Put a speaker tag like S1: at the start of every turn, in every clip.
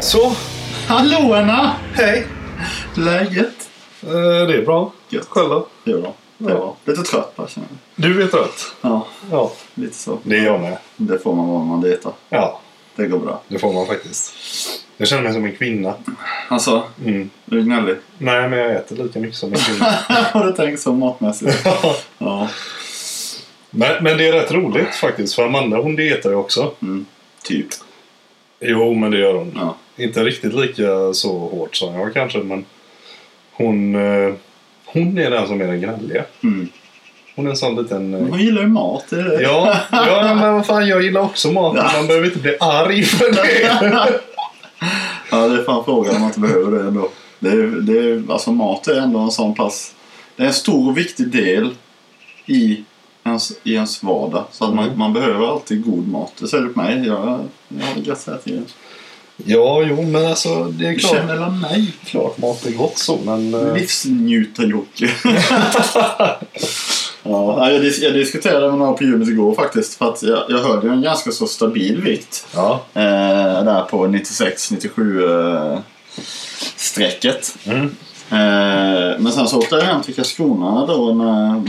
S1: Så,
S2: Hallåna!
S1: hej!
S2: Läget?
S1: Eh, Det är bra.
S2: Gött.
S1: Själv då?
S2: Det är bra. Det är
S1: Ja.
S2: bra. Lite trött bara känner jag.
S1: Du är trött?
S2: Ja,
S1: Ja,
S2: lite så.
S1: det är jag med.
S2: Det får man vara när man dejtar.
S1: Ja,
S2: Det går bra.
S1: det får man faktiskt. Jag känner mig som en kvinna.
S2: Alltså,
S1: Mm.
S2: är du gnällig?
S1: Nej, men jag äter lika mycket som en kvinna.
S2: Har du tänkt så matmässigt? Ja,
S1: men, men det är rätt roligt faktiskt, för Amanda hon dietar ju också.
S2: typ.
S1: Jo, men det gör hon.
S2: Ja.
S1: Inte riktigt lika så hårt som jag kanske, men hon, eh, hon är den som är den gnälliga.
S2: Mm.
S1: Hon är en sån liten... eh,
S2: Man gillar ju mat, är det det?
S1: Ja, ja, men vad fan, jag gillar också mat. men Man behöver inte bli arg för det.
S2: Ja, det är fan frågan om man inte behöver det ändå. Det är, det är, alltså mat är ändå en sån pass... Det är en stor och viktig del i ens, i ens vardag. Så att man,
S1: Mm.
S2: man behöver alltid god mat. Det säger du på mig. Jag, jag har gött hela tiden.
S1: Ja, jo, men alltså det är
S2: Du
S1: klart.
S2: känner väl mig?
S1: Klart mat är gott så, men... eh,
S2: Livsnjutar-Jocke. ja, jag, dis- jag diskuterade med några på gymmet igår faktiskt. För att jag, jag höll ju en ganska så stabil vikt.
S1: Ja.
S2: Eh, där på 96-97 eh, strecket.
S1: Mm.
S2: Eh, men sen så åkte jag hem till Karlskrona då när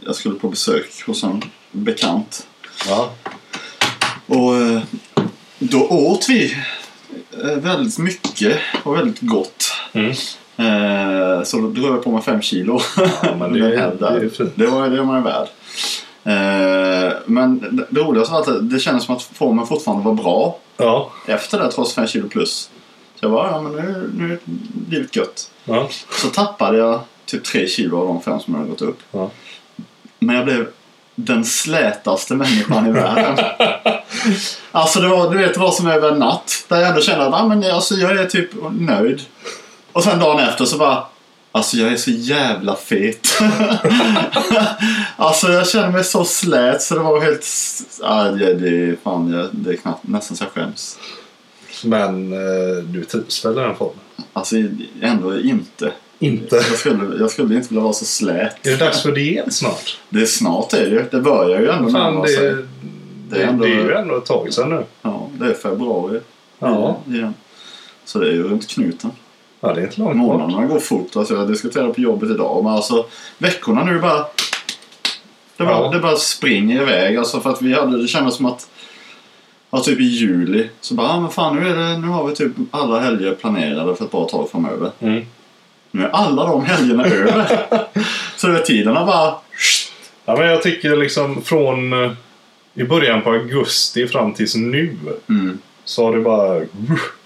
S2: jag skulle på besök hos en bekant.
S1: Ja.
S2: Och eh, då åt vi eh, väldigt mycket och väldigt gott.
S1: Mm.
S2: Eh, så då drog jag på mig fem kilo.
S1: ja, men det,
S2: Den här
S1: är- det
S2: där.
S1: är fint.
S2: Det var det man är värd. Eh, men det- det roligaste var att det- det kändes som att formen fortfarande var bra
S1: Ja.
S2: efter det trots 5 kilo plus. Så jag bara, ja men nu, nu är livet gött.
S1: ja.
S2: Så tappade jag typ 3 kilo av de fem som hade gått upp.
S1: Ja.
S2: Men jag blev den slätaste människan i världen. alltså det var, du vet, det var som över en natt. Där jag ändå kände att ah, men, alltså, jag är typ nöjd. Och sen dagen efter så bara Alltså jag är så jävla fet. alltså jag känner mig så slät så det var helt... s- Ah, det, det, fan, jag, det är knappt, nästan så jag skäms.
S1: Men eh, du trivs väl i den formen?
S2: Alltså ändå inte.
S1: Inte.
S2: Jag skulle, jag skulle inte vilja vara så slät.
S1: Är det dags för diet snart?
S2: Det är snart är det ju. Det börjar ju ändå
S1: Fan,
S2: närma
S1: alltså, det,
S2: sig.
S1: det, det, är
S2: ändå-
S1: ju ändå ett tag sedan nu.
S2: Ja, det är februari.
S1: Ja.
S2: Igen. Så det är ju runt knuten.
S1: Ja, det är inte långt bort.
S2: Månaderna går fort. Alltså jag diskuterade på jobbet idag. Men alltså veckorna nu bara... Det bara,
S1: Ja.
S2: det bara springer iväg. Alltså för att vi hade, det kändes som att... Ja, typ i juli. Så bara, ah, men fan nu, är det, nu har vi typ alla helger planerade för ett bra tag framöver.
S1: Mm.
S2: Nu är alla de helgerna över. Så det är tiden har bara...
S1: Ja, men jag tycker liksom från eh, i början på augusti fram tills nu
S2: Mm.
S1: så har det bara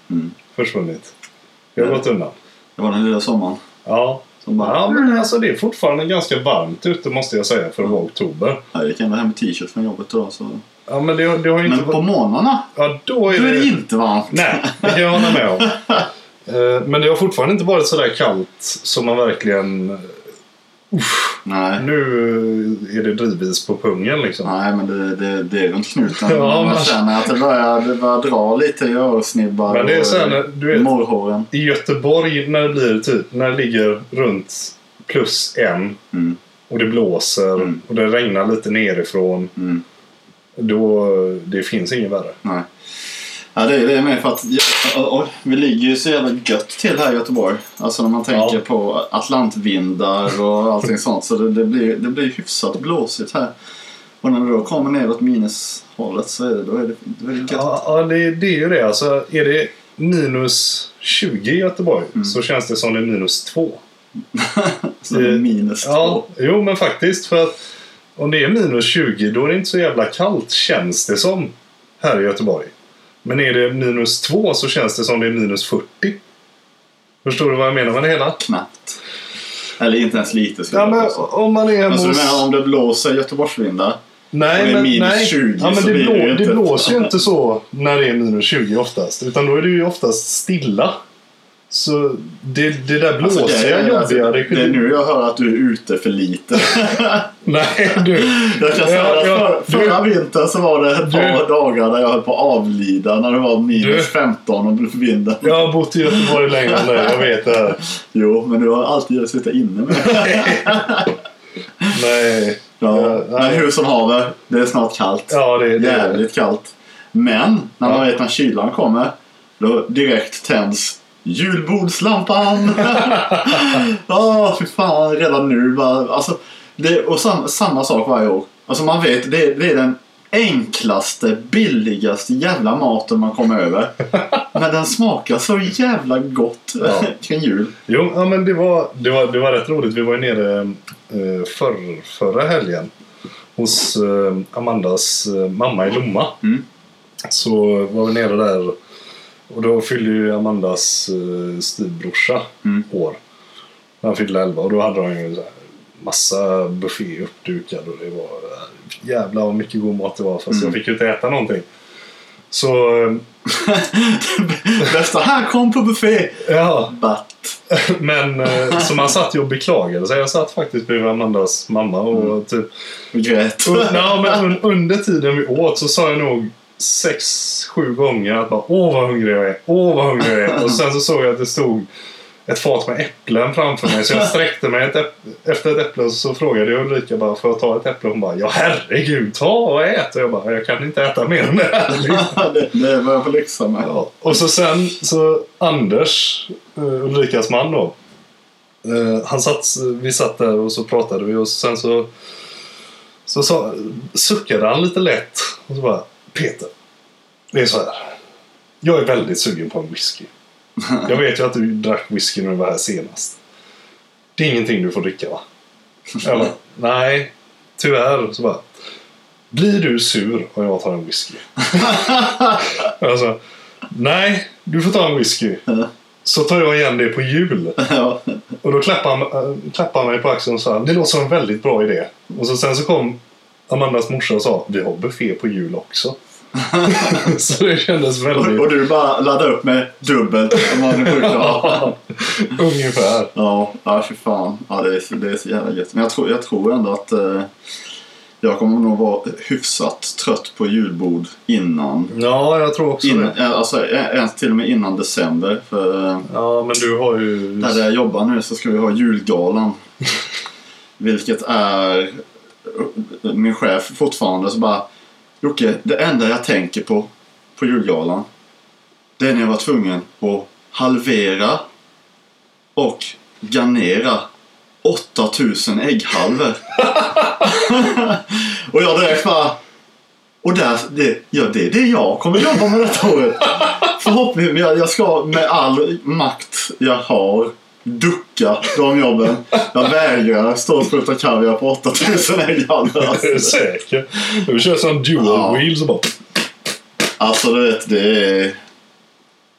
S2: Mm.
S1: försvunnit. Det har
S2: Ja.
S1: gått undan.
S2: Det var den lilla sommaren.
S1: Ja.
S2: Som bara...
S1: Ja, men alltså det är fortfarande ganska varmt ute måste jag säga för att vara oktober.
S2: Ja, Jag gick ändå hem med t-shirt från jobbet idag. Så...
S1: Ja, men det, det har ju inte
S2: Men på
S1: varit...
S2: morgnarna,
S1: Ja, då är
S2: då är det
S1: det...
S2: inte varmt.
S1: Nej, det kan jag hålla med om. Eh, Men det har fortfarande inte varit sådär kallt som man verkligen...
S2: Nej,
S1: Nu är det drivis på pungen liksom.
S2: Nej men det, det, det är runt knuten.
S1: Ja,
S2: man
S1: men-
S2: känner att det börjar, det börjar dra lite i örsnibbar
S1: Men det är
S2: och
S1: så här, när- du vet-
S2: morrhåren.
S1: I Göteborg när det blir typ, när det ligger runt plus en
S2: Mm,
S1: och det blåser
S2: Mm.
S1: och det regnar lite nerifrån.
S2: mm,
S1: Då, det finns inget värre.
S2: nej. Ja, det, är- det är med för att ja, oj, vi ligger ju så jävla gött till här i Göteborg. Alltså när man tänker
S1: Ja.
S2: på Atlantvindar och allting sånt. Så det, det, blir, det blir hyfsat blåsigt här. Och när det då kommer neråt minushållet så är det, då är det, då är det gött.
S1: Ja, ja det, det är ju det. Alltså, är det minus 20 i Göteborg så känns det som det är minus 2.
S2: Så det är Alltså, minus två.
S1: Ja, jo men faktiskt. För att om det är minus 20 då är det inte så jävla kallt känns det som här i Göteborg. Men är det minus 2 så känns det som det är minus 40. Förstår du vad jag menar med det hela?
S2: Knappt. Eller inte ens lite skulle
S1: Ja,
S2: jag
S1: men
S2: påstå.
S1: om man är hemma
S2: Men så Alltså, du
S1: hos-
S2: menar om det blåser Göteborgsvindar?
S1: Nej,
S2: Om det är
S1: men,
S2: minus
S1: nej.
S2: 20
S1: ja, men
S2: så
S1: det,
S2: blir
S1: blå,
S2: det ju
S1: det
S2: inte-
S1: blåser ju inte så när det är minus 20 oftast. Utan då är det ju oftast stilla. Så det, det där
S2: Alltså,
S1: blåsiga
S2: grejen är att
S1: jobbiga... Det,
S2: det är nu jag hör att du är ute för lite.
S1: Nej, du.
S2: Jag kan säga
S1: Ja,
S2: att
S1: ja,
S2: för, förra vintern så var det ett par dagar där jag höll på att avlida när det var
S1: Du-
S2: minus 15 och vinden.
S1: Jag har bott i Göteborg längre än dig, jag vet det här.
S2: Jo, men du har alltid suttit inne med det.
S1: Nej.
S2: Ja.
S1: Ja,
S2: Men
S1: nej.
S2: hur som haver, det är snart kallt.
S1: Ja, det, det,
S2: Jävligt kallt. Men när man
S1: Ja.
S2: vet när kylan kommer, Då direkt tänds julbordslampan. Ja, fy fan. Redan nu bara. Alltså, det, och sam, samma sak varje år. Alltså man vet, det, det är den enklaste, billigaste jävla maten man kommer över. Men den smakar så jävla gott
S1: Ja.
S2: kring jul.
S1: Jo, ja, men det var, det, var, det var rätt roligt. Vi var ju nere eh, förr, förra helgen hos eh, Amandas eh, mamma i Lomma.
S2: Mm.
S1: Så var vi nere där och då fyllde ju Amandas eh, styvbrorsa
S2: Mm.
S1: år. När han fyllde 11 och då hade de ju så här massa buffé uppdukad och det var eh, jävla vad mycket god mat det var fast
S2: Mm.
S1: jag fick ju inte äta någonting. Så, eh,
S2: Bästa här kom på buffé.
S1: ja.
S2: But.
S1: Men eh, så man satt ju och beklagade sig. Jag satt faktiskt bredvid Amandas mamma och typ
S2: Grät.
S1: un, ja, men un, under tiden vi åt så sa jag nog sex, sju gånger att bara åh vad hungrig jag är, åh vad hungrig jag är. Och sen så såg jag att det stod ett fat med äpplen framför mig så jag sträckte mig ett äpp- efter ett äpple och så frågade jag Ulrika bara får jag ta ett äpple? Hon bara ja herregud ta och ät! Och jag bara jag kan inte äta mer än det här. liksom.
S2: det, det var jag på lyxa med.
S1: Ja, och så sen så Anders, eh, Ulrikas man då. Eh, han satt, vi satt där och så pratade vi och sen så, så, sa- suckade han lite lätt. Och så bara, Peter, det är så här. Jag är väldigt sugen på en whisky. Jag vet ju att du drack whisky när du var här senast. Det är ingenting du får dricka va? Jag bara, nej, tyvärr. Så bara, blir du sur om jag tar en whisky? Alltså, nej, du får ta en whisky. Så tar jag igen det på jul.
S2: Ja.
S1: Och då klappade han, äh, klappade han mig på axeln och sa det låter som en väldigt bra idé. Och så, sen så kom Amandas morsa och sa vi har buffé på jul också. så det kändes
S2: Och,
S1: väldigt
S2: och du bara laddade upp med dubbelt om man är sjuk. Ja,
S1: ungefär.
S2: ja ja, fy fan. Ja, det, är så, det är så jävla gött. Men jag tror, jag tror ändå att eh, jag kommer nog vara hyfsat trött på julbord innan.
S1: Ja, jag tror också
S2: In,
S1: det.
S2: eh, alltså, eh, ens till och med innan december. För eh,
S1: Ja, men du har ju...
S2: där jag jobbar nu så ska vi ha julgalan. Vilket är... Min chef fortfarande så bara... Jocke, det enda jag tänker på på julgalan. Det är när jag var tvungen att halvera och garnera 8000 ägghalvor. och jag direkt bara... Och där, det, ja, det, det är jag kommer jobba med detta året. Förhoppningsvis, men jag, jag ska med all makt jag har ducka de jobben. Jag vägrar stå och spruta kaviar på 8000 ägghalvor.
S1: Är du
S2: Alltså.
S1: säker? Du kör sån dual
S2: Ja.
S1: wheel så bara...
S2: alltså du vet, det är...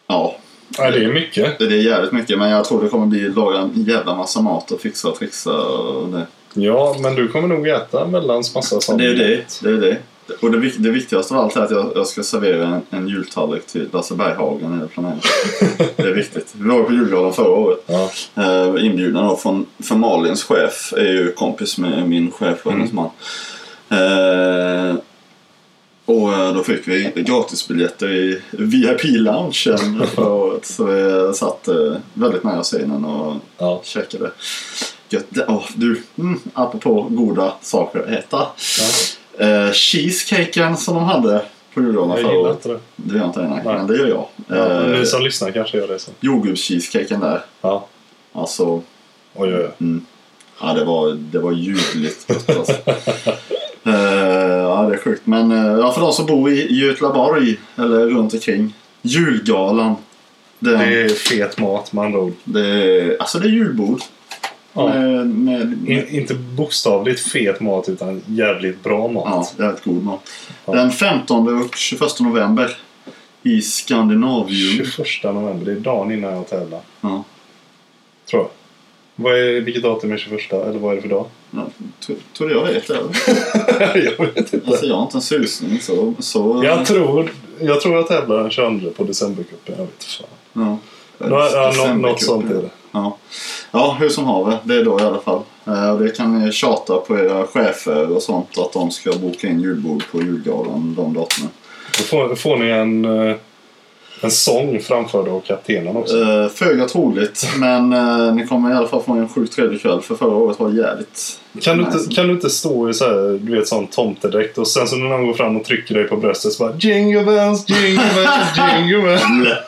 S2: Ja,
S1: Ja, det är mycket.
S2: det är jävligt mycket. Men jag tror det kommer bli laga en jävla massa mat och fixa och trixa och det.
S1: Ja, men du kommer nog äta mellans massa saker.
S2: Det är ju det. det, är det. Och det, vik- det viktigaste av allt är att jag, jag ska servera en, en jultallrik till Lasse Berghagen när jag planerar. det är viktigt. Vi var på julgalan förra året.
S1: Ja.
S2: Eh, inbjudan då från, från Malins chef. är ju kompis med min chef och hennes man. Eh, och eh, då fick vi gratisbiljetter i VIP-loungen förra året. Så vi satt eh, väldigt nära scenen och
S1: Ja.
S2: käkade. Gött. Det- åh, du, mm, apropå goda saker att äta. Eh, cheesecaken som de hade på julgranen
S1: Jag
S2: förra
S1: gillar
S2: året.
S1: inte det.
S2: Det gör inte jag, nej.
S1: Nej.
S2: men det gör jag.
S1: Ja,
S2: Eh,
S1: ni som lyssnar kanske gör det sen.
S2: Jordgubbscheesecaken där.
S1: Ja.
S2: Alltså,
S1: Oj, oj, oj.
S2: Mm. Ja, det var, det var ljuvligt gott alltså. Eh, ja, det är sjukt. Men eh, ja, för de som bor i Götlaborg eller runt omkring. Julgalan. Den,
S1: Det
S2: det...
S1: är fet mat med andra ord.
S2: är- alltså det är julbord.
S1: Ja.
S2: Med, med,
S1: In, inte bokstavligt fet mat utan jävligt bra
S2: ja,
S1: mat.
S2: det är ett god mat.
S1: Ja.
S2: Den 15 och 21 november i Skandinavium.
S1: 21 november, det är dagen innan jag tävlar.
S2: Ja.
S1: Tror jag. Vad är, vilket datum är 21? Eller vad är det för dag?
S2: Ja, tror- Tror du jag vet det? eller?
S1: jag vet inte.
S2: Alltså jag har inte en susning. Så, så,
S1: Jag tror, jag tror jag tävlar den 22 på decembercupen. Jag vet fan.
S2: Ja.
S1: Nå, ja, nå-
S2: Decembercupen.
S1: något sånt är det.
S2: Ja. ja, hur som haver. Det är då i alla fall. Eh, och Det kan ni tjata på era chefer och sånt att de ska boka in julbord på julgalan de datumen.
S1: Då får, får ni en eh, En sång framförd av kaptenen också.
S2: Eh, föga troligt, men eh, ni kommer i alla fall få en sjukt trevlig kväll för förra året var jävligt...
S1: Kan du, inte, kan du inte stå i så här, du vet, sån tomtedräkt och sen så när någon går fram och trycker dig på bröstet så bara Jingle bells, jingle bells, jingle bells.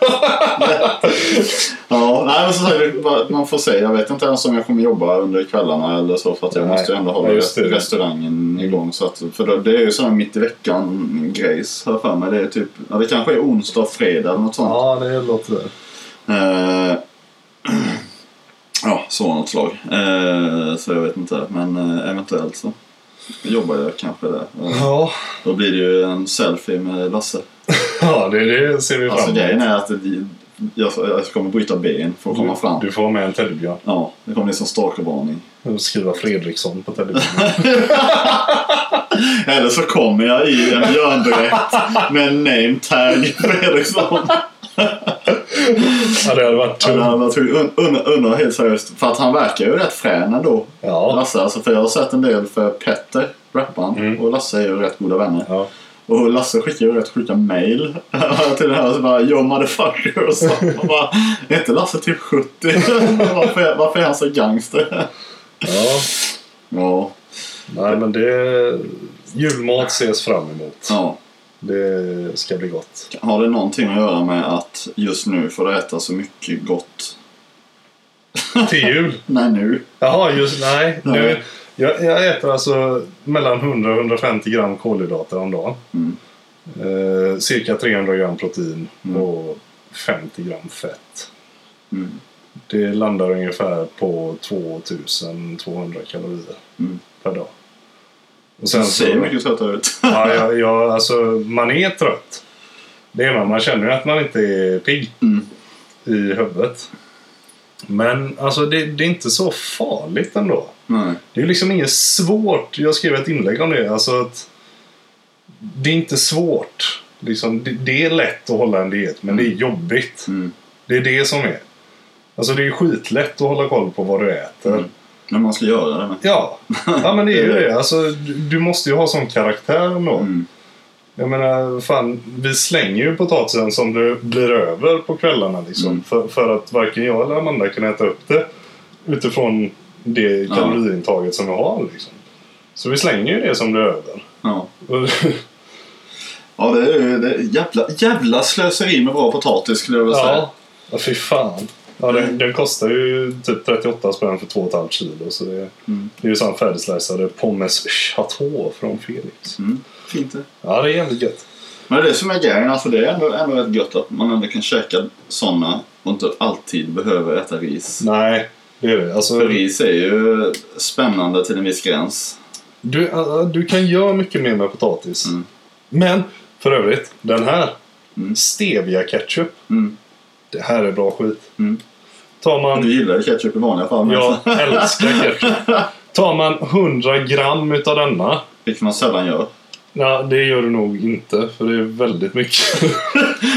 S2: Ja, nej men som sagt, det- va- man får se. Jag vet inte ens om jag kommer jobba under kvällarna eller så för att jag
S1: Nej.
S2: måste ju ändå
S1: Ja,
S2: hålla
S1: just det.
S2: restaurangen igång. Så att, för då- det är ju sån här mitt i veckan-grejs har jag för mig. Det är typ, ja, det kanske är onsdag, fredag eller något sånt.
S1: Ja, det låter det.
S2: Eh, ja, så något slag. Eh, så jag vet inte, men eh, eventuellt så jobbar jag kanske där. Eh,
S1: Ja,
S2: Då blir det ju en selfie med Lasse.
S1: ja det, det ser vi fram
S2: Alltså
S1: emot.
S2: grejen är att det, jag, jag kommer bryta ben för att komma fram.
S1: Du, du får ha med en teddybjörn.
S2: Ja, det kommer bli som stalkervarning.
S1: Och Skriva Fredriksson på teddybjörnen.
S2: Eller så kommer jag i en björndräkt med en name tag Fredriksson.
S1: ja, det hade varit
S2: Han
S1: tungt.
S2: hade varit un- un- undrar helt seriöst. För att han verkar ju rätt frän ändå.
S1: Ja.
S2: Lasse, alltså för jag har sett en del för Petter, rapparen, och Lasse är ju rätt goda vänner.
S1: Ja.
S2: Och Lasse skickar ju rätt sjuka mail till det här. Så bara, Yo motherfucker och så. Och bara, är inte Lasse typ 70? varför, varför är han så gangster?
S1: ja.
S2: ja,
S1: Nej, men det... Julmat ses fram emot.
S2: ja.
S1: Det ska bli gott.
S2: Har det någonting att göra med att just nu får du äta så mycket gott?
S1: Till jul.
S2: Nej, nu.
S1: Jaha, just nej.
S2: Nej.
S1: Nu, jag, jag äter alltså mellan 100 och 150 gram kolhydrater om dagen.
S2: Mm.
S1: Eh, cirka 300 gram protein
S2: Mm.
S1: och 50 gram fett.
S2: Mm.
S1: Det landar ungefär på 2200 kalorier
S2: Mm.
S1: per dag. Och
S2: Du
S1: sen så,
S2: ser mycket tröttare ut.
S1: ja, jag, jag, alltså, man är trött. Det är man. Man känner ju att man inte är pigg
S2: Mm.
S1: i huvudet. Men alltså, det, det är inte så farligt ändå.
S2: Nej.
S1: Det är ju liksom inget svårt. Jag skrev ett inlägg om det. Alltså att det är inte svårt. Liksom, det, det är lätt att hålla en diet, men det är jobbigt.
S2: Mm.
S1: Det är det som är. Alltså det är skitlätt att hålla koll på vad du äter.
S2: Mm. Men man ska göra det med.
S1: Ja. ja, men det är ju det. Alltså, du, du måste ju ha sån karaktär ändå.
S2: Mm.
S1: Jag menar, fan, vi slänger ju potatisen som blir, blir över på kvällarna. Liksom,
S2: Mm.
S1: för, för att varken jag eller Amanda kan äta upp det utifrån det
S2: Ja.
S1: kaloriintaget som vi har. Liksom. Så vi slänger ju det som blir över.
S2: Ja.
S1: Och-
S2: Ja, det är ju det är jävla, jävla slöseri med bra potatis skulle jag vilja säga.
S1: ja. ja, fy fan. Ja, den,
S2: Mm.
S1: den kostar ju typ 38 spänn för 2,5 kilo. Så det,
S2: Mm.
S1: det är ju sån färdigsliceade pommes chateau från Felix.
S2: Mm. Fint det.
S1: Ja, det är jävligt gött.
S2: Men det är det som är grejen. Alltså det är ändå, ändå rätt gött att man ändå kan käka sådana och inte alltid behöver äta ris.
S1: Nej, det är det. Alltså,
S2: För ris är ju spännande till en viss gräns.
S1: Du, äh, du kan göra mycket mer med potatis.
S2: Mm.
S1: Men för övrigt, den här.
S2: Mm.
S1: Stevia ketchup.
S2: Mm.
S1: Det här är bra skit.
S2: Mm.
S1: Tar man...
S2: Du gillar ju ketchup i vanliga fall. men alltså,
S1: Jag älskar ketchup. Tar man 100 gram utav denna.
S2: Vilket man sällan gör.
S1: Ja, det gör du nog inte, för det är väldigt mycket.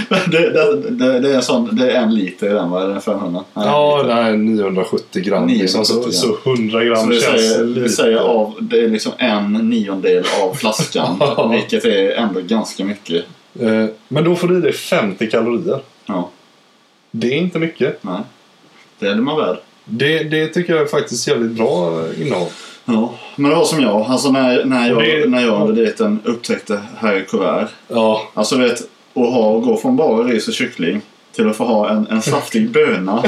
S2: det, det, det, det, är en sån, det är en liter i den va? Eller en 500? Nej,
S1: ja,
S2: en liter.
S1: nej, 970 gram. liksom. så,
S2: 970
S1: så 100
S2: Så
S1: gram
S2: det
S1: känns
S2: säger,
S1: lite.
S2: det säger av, det är liksom en niondel av flaskan.
S1: Ja.
S2: vilket är ändå ganska mycket.
S1: Eh, Men då får du i dig 50 kalorier.
S2: Ja,
S1: Det är inte mycket.
S2: nej. Det är man värd.
S1: Det, det tycker jag är faktiskt jävligt bra eh, innehåll.
S2: Ja, men det var som jag. Alltså när, när jag,
S1: Och det-
S2: när jag under dieten upptäckte här i kuvert.
S1: Ja,
S2: Alltså du vet, att ha, gå från bara ris och kyckling till att få ha en, en saftig böna.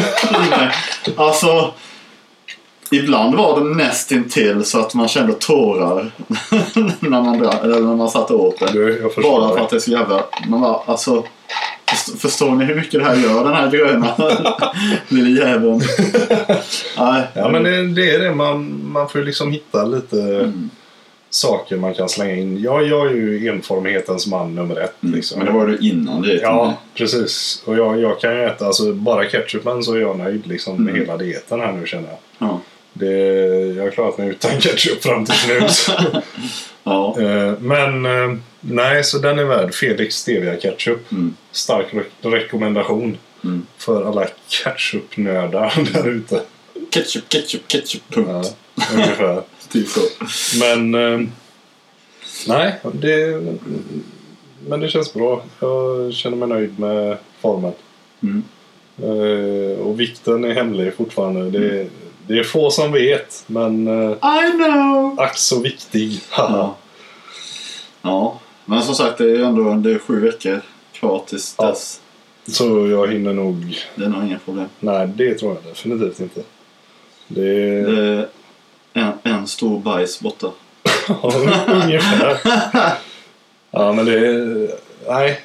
S2: i mig. alltså, ibland var det nästintill så att man kände tårar när, man dra, eller när man satt och åt det.
S1: du, jag förstår.
S2: Bara
S1: dig.
S2: för att det är så jävla... Man bara, alltså, först- förstår ni hur mycket det här gör, den här gröna lille jäveln? Nej,
S1: Ja, men det, det är det. Man, man får ju liksom hitta lite
S2: Mm.
S1: saker man kan slänga in. Ja, jag är ju enformighetens man nummer ett. Liksom.
S2: Mm. men det var ju innan dieten.
S1: Ja, precis. Och jag, jag kan ju äta alltså, bara ketchupen så är jag nöjd liksom, med
S2: Mm.
S1: hela dieten här nu känner jag.
S2: Ja.
S1: Det, jag har klarat mig utan ketchup fram till nu. så.
S2: ja.
S1: Eh, men eh, nej, så den är värd Felix Stevia Ketchup.
S2: Mm.
S1: Stark re- rekommendation
S2: Mm.
S1: för alla ketchupnördar där ute.
S2: Ketchup, ketchup, ketchup, punkt.
S1: Ja, ungefär.
S2: Typ så.
S1: Men... Eh, nej, det... Men det känns bra. Jag känner mig nöjd med formen.
S2: Mm.
S1: Eh, och vikten är hemlig fortfarande. Det,
S2: Mm.
S1: är- det är få som vet, men eh,
S2: I know!
S1: ack så viktig. Haha.
S2: Ja. ja, men som sagt det är ju ändå det är sju veckor kvar tills
S1: Ja.
S2: dess.
S1: Så jag hinner nog...
S2: Det är nog inga problem.
S1: Nej, det tror jag definitivt inte. Det är...
S2: Det är en, en stor bajs borta.
S1: Ja, ungefär. Ja, men det... är- Nej.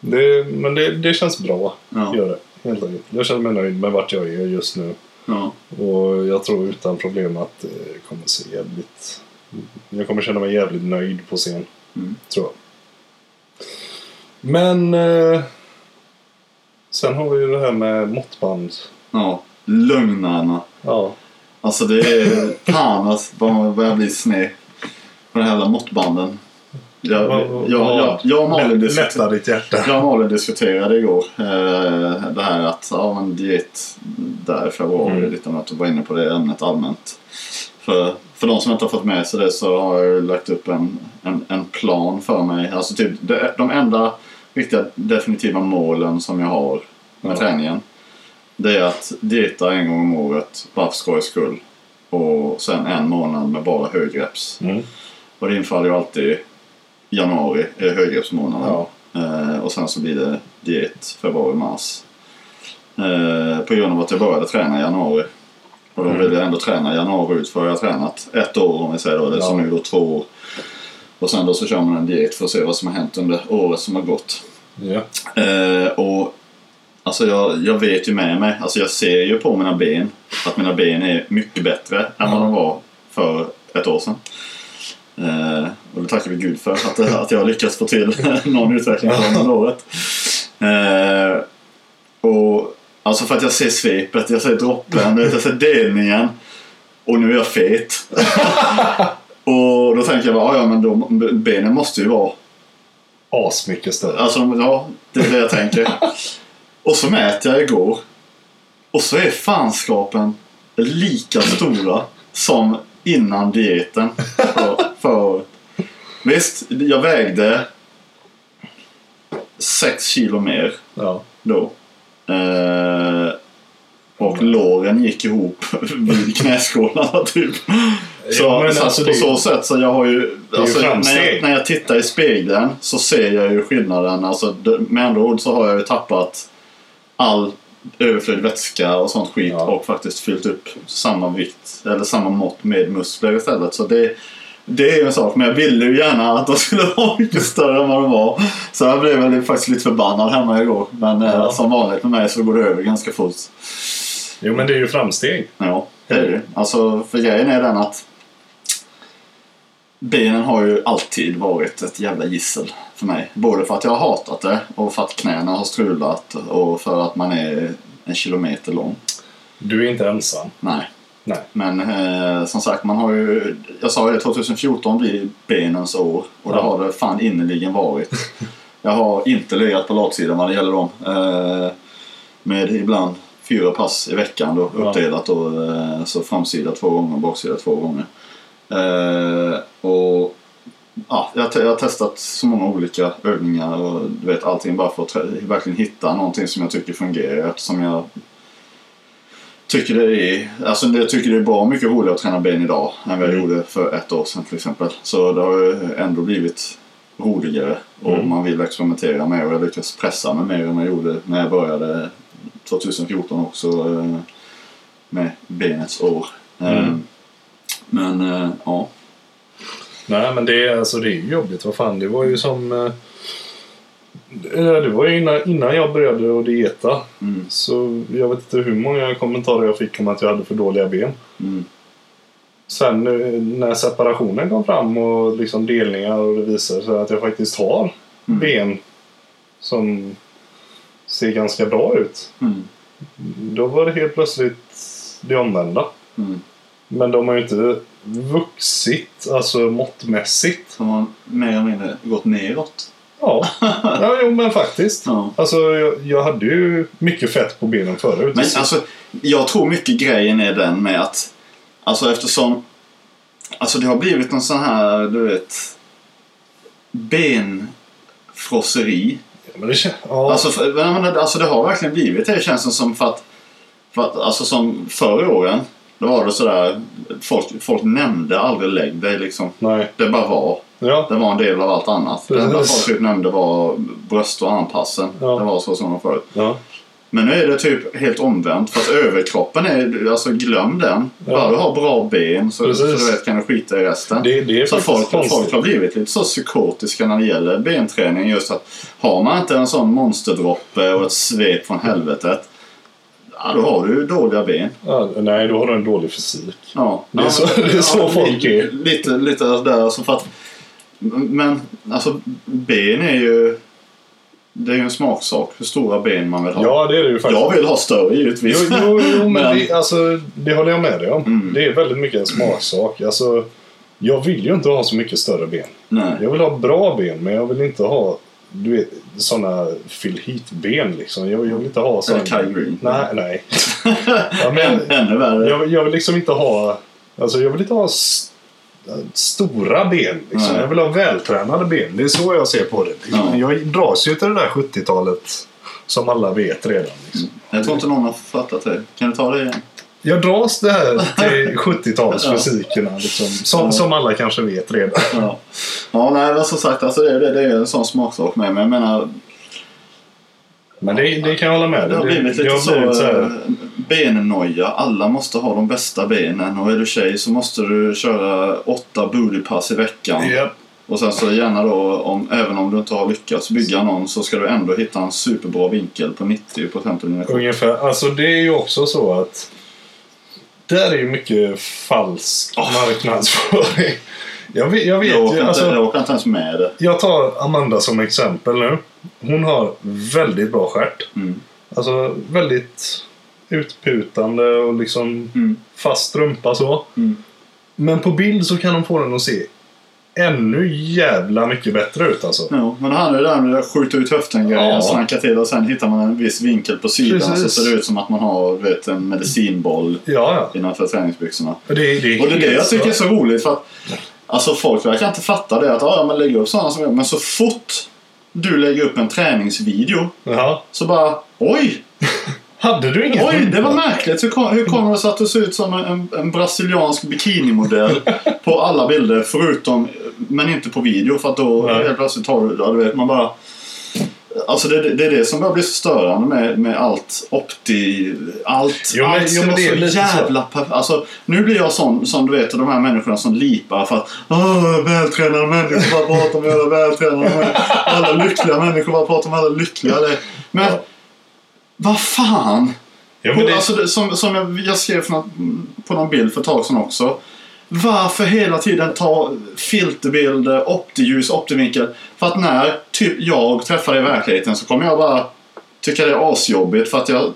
S1: Det, men det, det känns bra.
S2: Ja.
S1: Gör det. Helt enkelt. Jag känner mig nöjd med vart jag är just nu.
S2: Ja. och
S1: Och jag tror utan problem att det kommer se jävligt... Jag kommer känna mig jävligt nöjd på scen.
S2: Mm.
S1: Tror jag. Men... Eh, sen har vi ju det här med måttband.
S2: ja. Lögnarna.
S1: Ja.
S2: Alltså det är fan alltså, vad man börjar bli sned på de här jävla måttbanden. Jag, jag, jag, jag och Malin
S1: Lä-
S2: diskuterade,
S1: Lätta ditt hjärta.
S2: jag och Malin diskuterade igår eh, det här att ja, men diet där i februari,
S1: Mm.
S2: lite om att du var inne på det ämnet allmänt. För, för de som inte har fått med sig det så har jag ju lagt upp en, en, en plan för mig. Alltså typ de, de enda riktiga definitiva målen som jag har med
S1: Ja.
S2: träningen. Det är att dieta en gång om året bara för skojs skull. Och sen en månad med bara högreps.
S1: Mm.
S2: Och det infaller ju alltid januari, eh, högreppsmånaden.
S1: Ja.
S2: Eh, och sen så blir det diet februari-mars. Eh, på grund av att jag började träna i januari. Och då
S1: Mm.
S2: vill jag ändå träna januari ut för jag har tränat ett år om vi säger då. Det är som
S1: Ja.
S2: nu då två år. Och sen då så kör man en diet för att se vad som har hänt under året som har gått.
S1: Ja.
S2: Eh, och alltså jag, jag vet ju med mig, alltså jag ser ju på mina ben att mina ben är mycket bättre än vad de var för ett år sedan. Eh, och det tackar vi gud för, att, att jag har lyckats få till någon utveckling på dem under året. Eh, och alltså för att jag ser svepet, jag ser droppen, du vet, jag ser delningen. Och nu är jag fet. och då tänker jag bara, "Ah, "Ja, ja men då, benen måste ju vara
S1: Asmycket större.
S2: Alltså, ja, det är det jag tänker. Och så mäter jag igår. Och så är fanskapen lika stora som innan dieten för, för Visst, jag vägde 6 kilo mer
S1: Ja.
S2: då. Eh, och
S1: Mm.
S2: låren gick ihop vid knäskålarna typ. Så,
S1: Ja, men
S2: så
S1: alltså,
S2: på
S1: det-
S2: så sätt så jag har ju...
S1: är ju
S2: Alltså, när,
S1: framsteg.
S2: jag, när jag tittar i spegeln så ser jag ju skillnaden. Alltså, det- med andra ord så har jag ju tappat all överflödig vätska och sånt skit
S1: Ja.
S2: och faktiskt fyllt upp samma vikt eller samma mått med muskler istället. Så det, det är ju en sak, men jag ville ju gärna att de skulle vara mycket större än vad de var. Så jag blev väl faktiskt lite förbannad hemma igår. Men eh,
S1: Ja.
S2: som vanligt med mig så går det över ganska fort.
S1: Jo, men det är ju framsteg.
S2: Ja, det är det ju. Alltså, för grejen är den att benen har ju alltid varit ett jävla gissel för mig. Både för att jag har hatat det och för att knäna har strulat och för att man är en kilometer lång.
S1: Du är inte ensam.
S2: Nej.
S1: Nej.
S2: Men eh, som sagt, man har ju... Jag sa ju det, 2014 blir benens år. Och det
S1: Ja.
S2: har det fan innerligen varit. jag har inte legat på latsidan vad det gäller dem. Eh, med ibland fyra pass i veckan då,
S1: Ja.
S2: uppdelat då. Eh, så framsida två gånger och baksida två gånger. Eh, och ja, jag, te- jag har testat så många olika övningar och du vet allting bara för att trä- verkligen hitta någonting som jag tycker fungerar eftersom jag tycker det är, alltså jag tycker det är bra mycket roligare att träna ben idag än vad jag gjorde för ett år sedan till exempel. Så det har ju ändå blivit roligare och
S1: Mm.
S2: man vill experimentera med och jag lyckas pressa mig mer än vad jag gjorde när jag började 2014 också eh, med benets år. Eh,
S1: Mm.
S2: Men eh, ja.
S1: Nej, men det är, alltså, det är ju jobbigt. Vad fan, det var ju som... Eh, ja, det var ju innan, innan jag började att dieta.
S2: Mm.
S1: Så jag vet inte hur många kommentarer jag fick om att jag hade för dåliga ben.
S2: Mm.
S1: Sen eh, när separationen kom fram och liksom delningar och det visade sig att jag faktiskt har
S2: Mm.
S1: ben som ser ganska bra ut.
S2: Mm.
S1: Då var det helt plötsligt det omvända.
S2: Mm.
S1: Men de har ju inte vuxit, alltså måttmässigt.
S2: Som har mer eller mindre gått neråt.
S1: Ja, ja jo, men faktiskt.
S2: Ja.
S1: Alltså, jag, jag hade ju mycket fett på benen förut.
S2: Men alltså, jag tror mycket grejen är den med att Alltså eftersom Alltså det har blivit någon sån här, du vet Benfrosseri
S1: Men det känns... Ja.
S2: Alltså, för, men, men, alltså det har verkligen blivit det känns det som för att, för att alltså som förr i åren då var det sådär folk, folk nämnde aldrig lägg dig liksom.
S1: nej.
S2: Det bara var.
S1: Ja.
S2: Det var en del av allt annat. Det enda
S1: Precis.
S2: folk typ nämnde var bröst och armpassen.
S1: Ja.
S2: Det var så som de förut.
S1: ja.
S2: Men nu är det typ helt omvänt. För att överkroppen är, alltså glöm den.
S1: Ja.
S2: Bara du har bra ben så, så
S1: Precis.
S2: du vet kan du skita i resten.
S1: Det, det är
S2: Så
S1: faktiskt
S2: folk, folk har blivit lite så psykotiska när det gäller benträning. Just att har man inte en sån monsterdroppe och ett svep från helvetet. Ja, då har du dåliga ben.
S1: Ja, nej, då har du en dålig fysik.
S2: Ja.
S1: Det är
S2: Ja,
S1: så-
S2: men-
S1: det är så
S2: ja,
S1: folk
S2: lite-
S1: är.
S2: Lite, lite där. Alltså för att, men alltså ben är ju... Det är ju en smaksak. Hur stora ben man vill ha.
S1: Ja, det är det ju faktiskt.
S2: Jag vill ha större
S1: Jo,
S2: givetvis.
S1: jo, jo men,
S2: Men-
S1: Det, alltså, det håller jag med dig om.
S2: Mm.
S1: Det är väldigt mycket en smaksak. Alltså, jag vill ju inte ha så mycket större ben.
S2: Nej.
S1: Jag vill ha bra ben, men jag vill inte ha du vet, såna fyll hit-ben. Liksom. Jag, jag vill inte ha såna...
S2: Eller Kai Green.
S1: Nej, nej. ja,
S2: Än,
S1: men,
S2: ännu värre.
S1: jag, jag vill liksom inte ha... Alltså, jag vill inte ha s- stora ben. Liksom.
S2: Nej.
S1: Jag vill ha vältränade ben. Det är så jag ser på det. Liksom.
S2: Ja.
S1: Jag dras ju till det där 70-talet som alla vet redan. Liksom.
S2: Jag tror inte någon har fattat det. Kan du ta det igen?
S1: Jag dras det här till 70-talsmusikerna. Liksom, som, som alla kanske vet redan.
S2: Ja, ja nej, men som sagt, alltså det, det, det är en sån smaksak med. Men jag menar,
S1: Men det, det kan jag hålla med
S2: det har
S1: dig.
S2: blivit lite
S1: har
S2: så,
S1: blivit
S2: eh, bennoja. Alla måste ha de bästa benen. Och är du tjej så måste du köra åtta bootypass i veckan.
S1: Japp.
S2: Och sen så gärna då, om, även om du inte har lyckats bygga någon, så ska du ändå hitta en superbra vinkel på 90 på 50 mm.
S1: Ungefär. Alltså det är ju också så att där är ju mycket falsk marknadsföring. Jag vet, jag
S2: Jag
S1: vet ju.
S2: åker inte-
S1: Alltså,
S2: jag åker inte ens med det.
S1: jag tar Amanda som exempel nu. Hon har väldigt bra stjärt.
S2: Mm.
S1: Alltså väldigt utputande och liksom
S2: Mm.
S1: fast rumpa så.
S2: Mm.
S1: Men på bild så kan de få den att se ännu jävla mycket bättre ut alltså.
S2: Ja, men det handlar ju där med att skjuta ut höften-grejen,
S1: Ja.
S2: snacka till och sen hittar man en viss vinkel på sidan
S1: Precis.
S2: så ser det ut som att man har du vet, en medicinboll
S1: Ja,
S2: innanför träningsbyxorna.
S1: ja. Det, det är
S2: Och det är det jag
S1: helt
S2: tycker är
S1: så.
S2: så roligt för att alltså folk verkar inte fatta det att ah, ja, man lägger upp sådana som jag. Men så fort du lägger upp en träningsvideo
S1: Ja.
S2: så bara oj,
S1: Hade du inget?
S2: oj det var märkligt. Hur, kom, hur kommer det sig att du ser ut som en, en brasiliansk bikinimodell på alla bilder förutom, men inte på video för att då
S1: Nej.
S2: helt plötsligt tar du, ja, du vet man bara Alltså det, det är det som börjar bli så störande med, med allt opti... Allt,
S1: Jo, men-
S2: allt
S1: jo,
S2: ska
S1: men
S2: vara
S1: det är lite
S2: så
S1: så.
S2: jävla perfekt. Alltså, nu blir jag sån som du vet de här människorna som lipar för att Åh, vältränade människor bara pratar om alla vältränade människor. Alla lyckliga människor bara pratar om alla lyckliga. Det- Men
S1: Ja.
S2: vad fan!
S1: Ja, men det,
S2: alltså, det, som som jag, jag skrev för något, på någon bild för ett tag sedan också. Varför hela tiden ta filterbilder, optiljus, optivinkel? För att när typ jag träffar dig i verkligheten så kommer jag bara tycka det är asjobbigt för att jag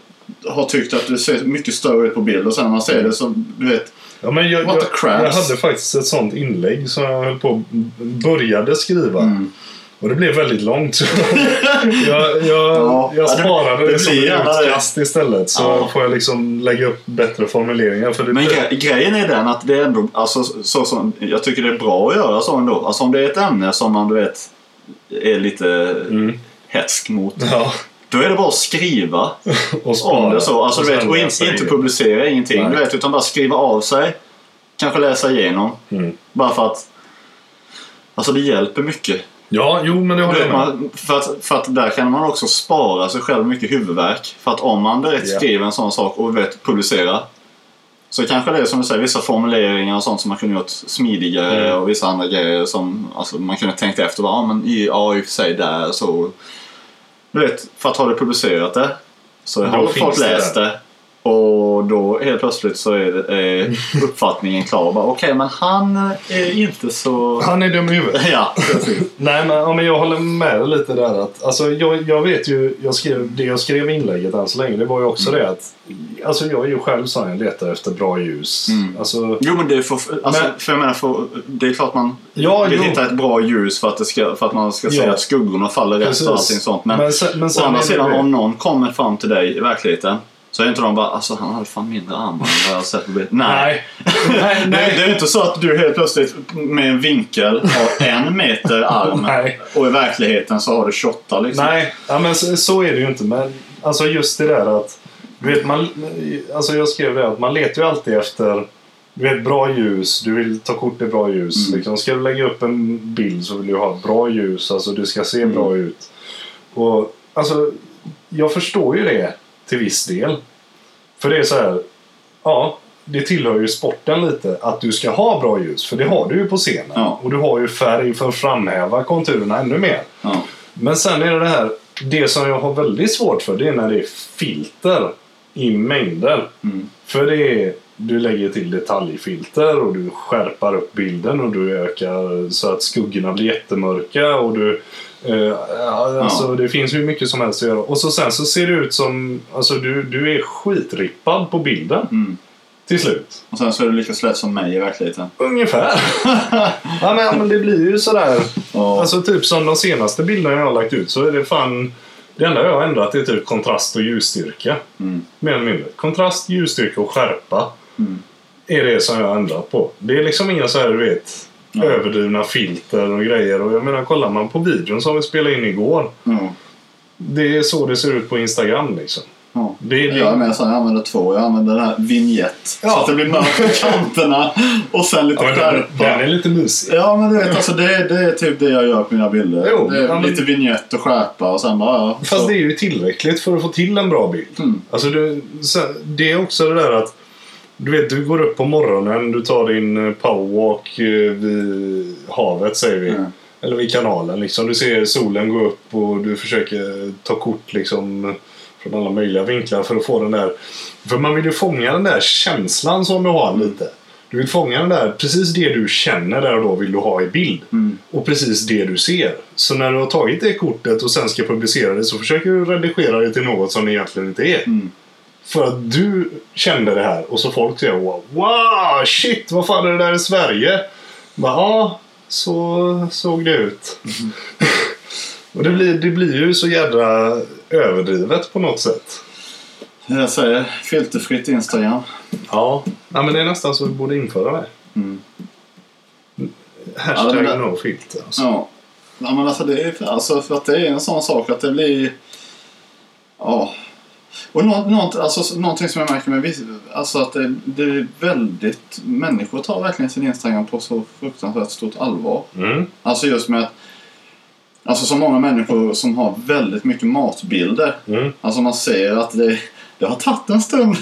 S2: har tyckt att du ser mycket större ut på bild och sen när man ser det så, du vet.
S1: ja, men jag,
S2: what
S1: jag,
S2: the craps.
S1: jag hade faktiskt ett sånt inlägg som jag höll på och började skriva.
S2: Mm.
S1: Och det blev väldigt långt. Så jag, jag,
S2: Ja, ja,
S1: jag
S2: det-
S1: sparade
S2: det
S1: det, som
S2: blir
S1: ett
S2: gärna det.
S1: utkast istället. Så
S2: Ja.
S1: får jag liksom lägga upp bättre formuleringar. För det
S2: Men
S1: blir-
S2: gre- grejen är den att det är ändå, alltså, så som, jag tycker det är bra att göra så ändå. Alltså om det är ett ämne som man, du vet, är lite
S1: Mm.
S2: hätsk mot.
S1: Ja,
S2: Då är det bara att skriva.
S1: och
S2: om
S1: spara.
S2: det så. Alltså,
S1: Och
S2: du vet,
S1: sen
S2: och in,
S1: läsa
S2: inte
S1: igen.
S2: publicera ingenting,
S1: Nej.
S2: du vet, utan bara skriva av sig. Kanske läsa igenom.
S1: Mm.
S2: Bara för att... Alltså det hjälper mycket.
S1: Ja, jo men det
S2: Du
S1: håller jag
S2: vet,
S1: med
S2: man, för, att, för att där kan man också spara sig själv mycket huvudvärk. För att om man direkt
S1: Ja.
S2: skriver en sån sak och vet, publicerar. Så kanske det är som du säger, vissa formuleringar och sånt som man kunde gjort smidigare
S1: Mm.
S2: och vissa andra grejer som alltså, man kunde tänkt efter. Bara, ja, men i, ja, i och för sig där så. Du vet, för att har du publicerat det så
S1: Då
S2: har folk
S1: finns det
S2: läst det. Och då helt plötsligt så är det, eh, uppfattningen klar. Bara, Okej, men han är inte så...
S1: Han är dum i huvudet.
S2: Ja, precis.
S1: Nej, men, ja, men jag håller med dig lite där. Att, alltså, jag, jag vet ju, jag skrev, det jag skrev i inlägget än så länge, det var ju också
S2: Mm.
S1: det att alltså, jag är ju själv sån, jag letar efter bra ljus.
S2: Mm.
S1: Alltså,
S2: Jo men det är för, alltså,
S1: Men-
S2: för jag menar, för, det är klart man
S1: ja,
S2: vill
S1: jo,
S2: hitta ett bra ljus för att, det ska, för att man ska se
S1: Ja.
S2: att skuggorna faller rätt
S1: precis.
S2: och allting sånt. Men,
S1: men, sen, men
S2: å
S1: sen
S2: andra
S1: är det
S2: sidan
S1: ju det.
S2: om någon kommer fram till dig i verkligheten Så är inte de bara alltså han hade fan mindre armar än vad jag har sett på bild. Nej.
S1: Nej. nej,
S2: Det, det
S1: nej.
S2: är inte så att du helt plötsligt med en vinkel har en meter arm
S1: Nej.
S2: och i verkligheten så har du 28 liksom.
S1: Nej, ja, men så, så är det ju inte. Men alltså just det där att... Du vet, man, alltså jag skrev det att man letar ju alltid efter du vet, bra ljus. Du vill ta kort med bra ljus.
S2: Mm.
S1: Liksom, ska du lägga upp en bild så vill du ha bra ljus. Alltså du ska
S2: Mm.
S1: se bra ut. Och alltså, jag förstår ju det till viss del. För det är så här. Ja, det tillhör ju sporten lite att du ska ha bra ljus. För det har du ju på scenen.
S2: Ja.
S1: Och du har ju färg för att framhäva konturerna ännu mer.
S2: Ja.
S1: Men sen är det det här, det som jag har väldigt svårt för det är när det är filter i mängder.
S2: Mm.
S1: För det är, du lägger till detaljfilter och du skärpar upp bilden och du ökar så att skuggorna blir jättemörka och du eh, alltså, det finns hur mycket som helst att göra. Och så sen så ser det ut som, alltså du, du är skitrippad på bilden
S2: Mm.
S1: till slut.
S2: Och sen så är du lika slät som mig i verkligheten.
S1: Ungefär. ja, men, men det blir ju sådär.
S2: Ja.
S1: Alltså typ som de senaste bilderna jag har lagt ut så är det fan... Det enda jag har ändrat är typ kontrast och ljusstyrka.
S2: Mm.
S1: Mer eller mindre. Kontrast, ljusstyrka och skärpa
S2: Mm.
S1: är det som jag har ändrat på. Det är liksom inga så här, du vet,
S2: Ja.
S1: överdrivna filter och grejer. Och jag menar, kollar man på videon som vi spelade in igår.
S2: Ja.
S1: Det är så det ser ut på Instagram liksom.
S2: Ja.
S1: Det är,
S2: Jag är med så här, jag använder två. Jag använder den här vignett.
S1: Ja.
S2: Så att det blir mörkt på kanterna och sen lite
S1: Ja, men den,
S2: skärpa.
S1: den är lite mysig.
S2: Ja men du vet alltså det, det är typ det jag gör på mina bilder.
S1: Jo,
S2: det är
S1: ja, men-
S2: lite vignett och skärpa och sen bara ja.
S1: Fast
S2: så-
S1: det är ju tillräckligt för att få till en bra bild.
S2: Mm.
S1: Alltså du, sen- det är också det där att du vet, du går upp på morgonen, du tar din eh, powerwalk eh, vid havet säger vi.
S2: Mm.
S1: Eller vid kanalen liksom. Du ser solen gå upp och du försöker ta kort liksom från alla möjliga vinklar för att få den där. För man vill ju fånga den där känslan som du har lite. Du vill fånga den där, precis det du känner där och då vill du ha i bild.
S2: Mm.
S1: Och precis det du ser. Så när du har tagit det kortet och sen ska publicera det så försöker du redigera det till något som det egentligen inte är.
S2: Mm.
S1: För att du kände det här och så folk säger wow, wow shit vad fan är det där i Sverige? Bara, ja, så såg det ut.
S2: Mm.
S1: och det blir, det blir ju så jädra överdrivet på något sätt.
S2: Jag säger filterfritt Instagram.
S1: Ja. ja men det är nästan så vi borde införa det.
S2: Mm. Ja,
S1: Hashtag
S2: men det-
S1: no filter. Alltså.
S2: Ja. ja men alltså det är alltså för att det är en sån sak att det blir ja. Och nå- nånt, alltså, någonting som jag märker med viss- alltså att det, det är väldigt människor tar verkligen sin Instagram på så fruktansvärt stort allvar.
S1: Mm.
S2: Alltså just med att Alltså så många människor som har väldigt mycket matbilder.
S1: Mm.
S2: Alltså man ser att det, det har tagit en stund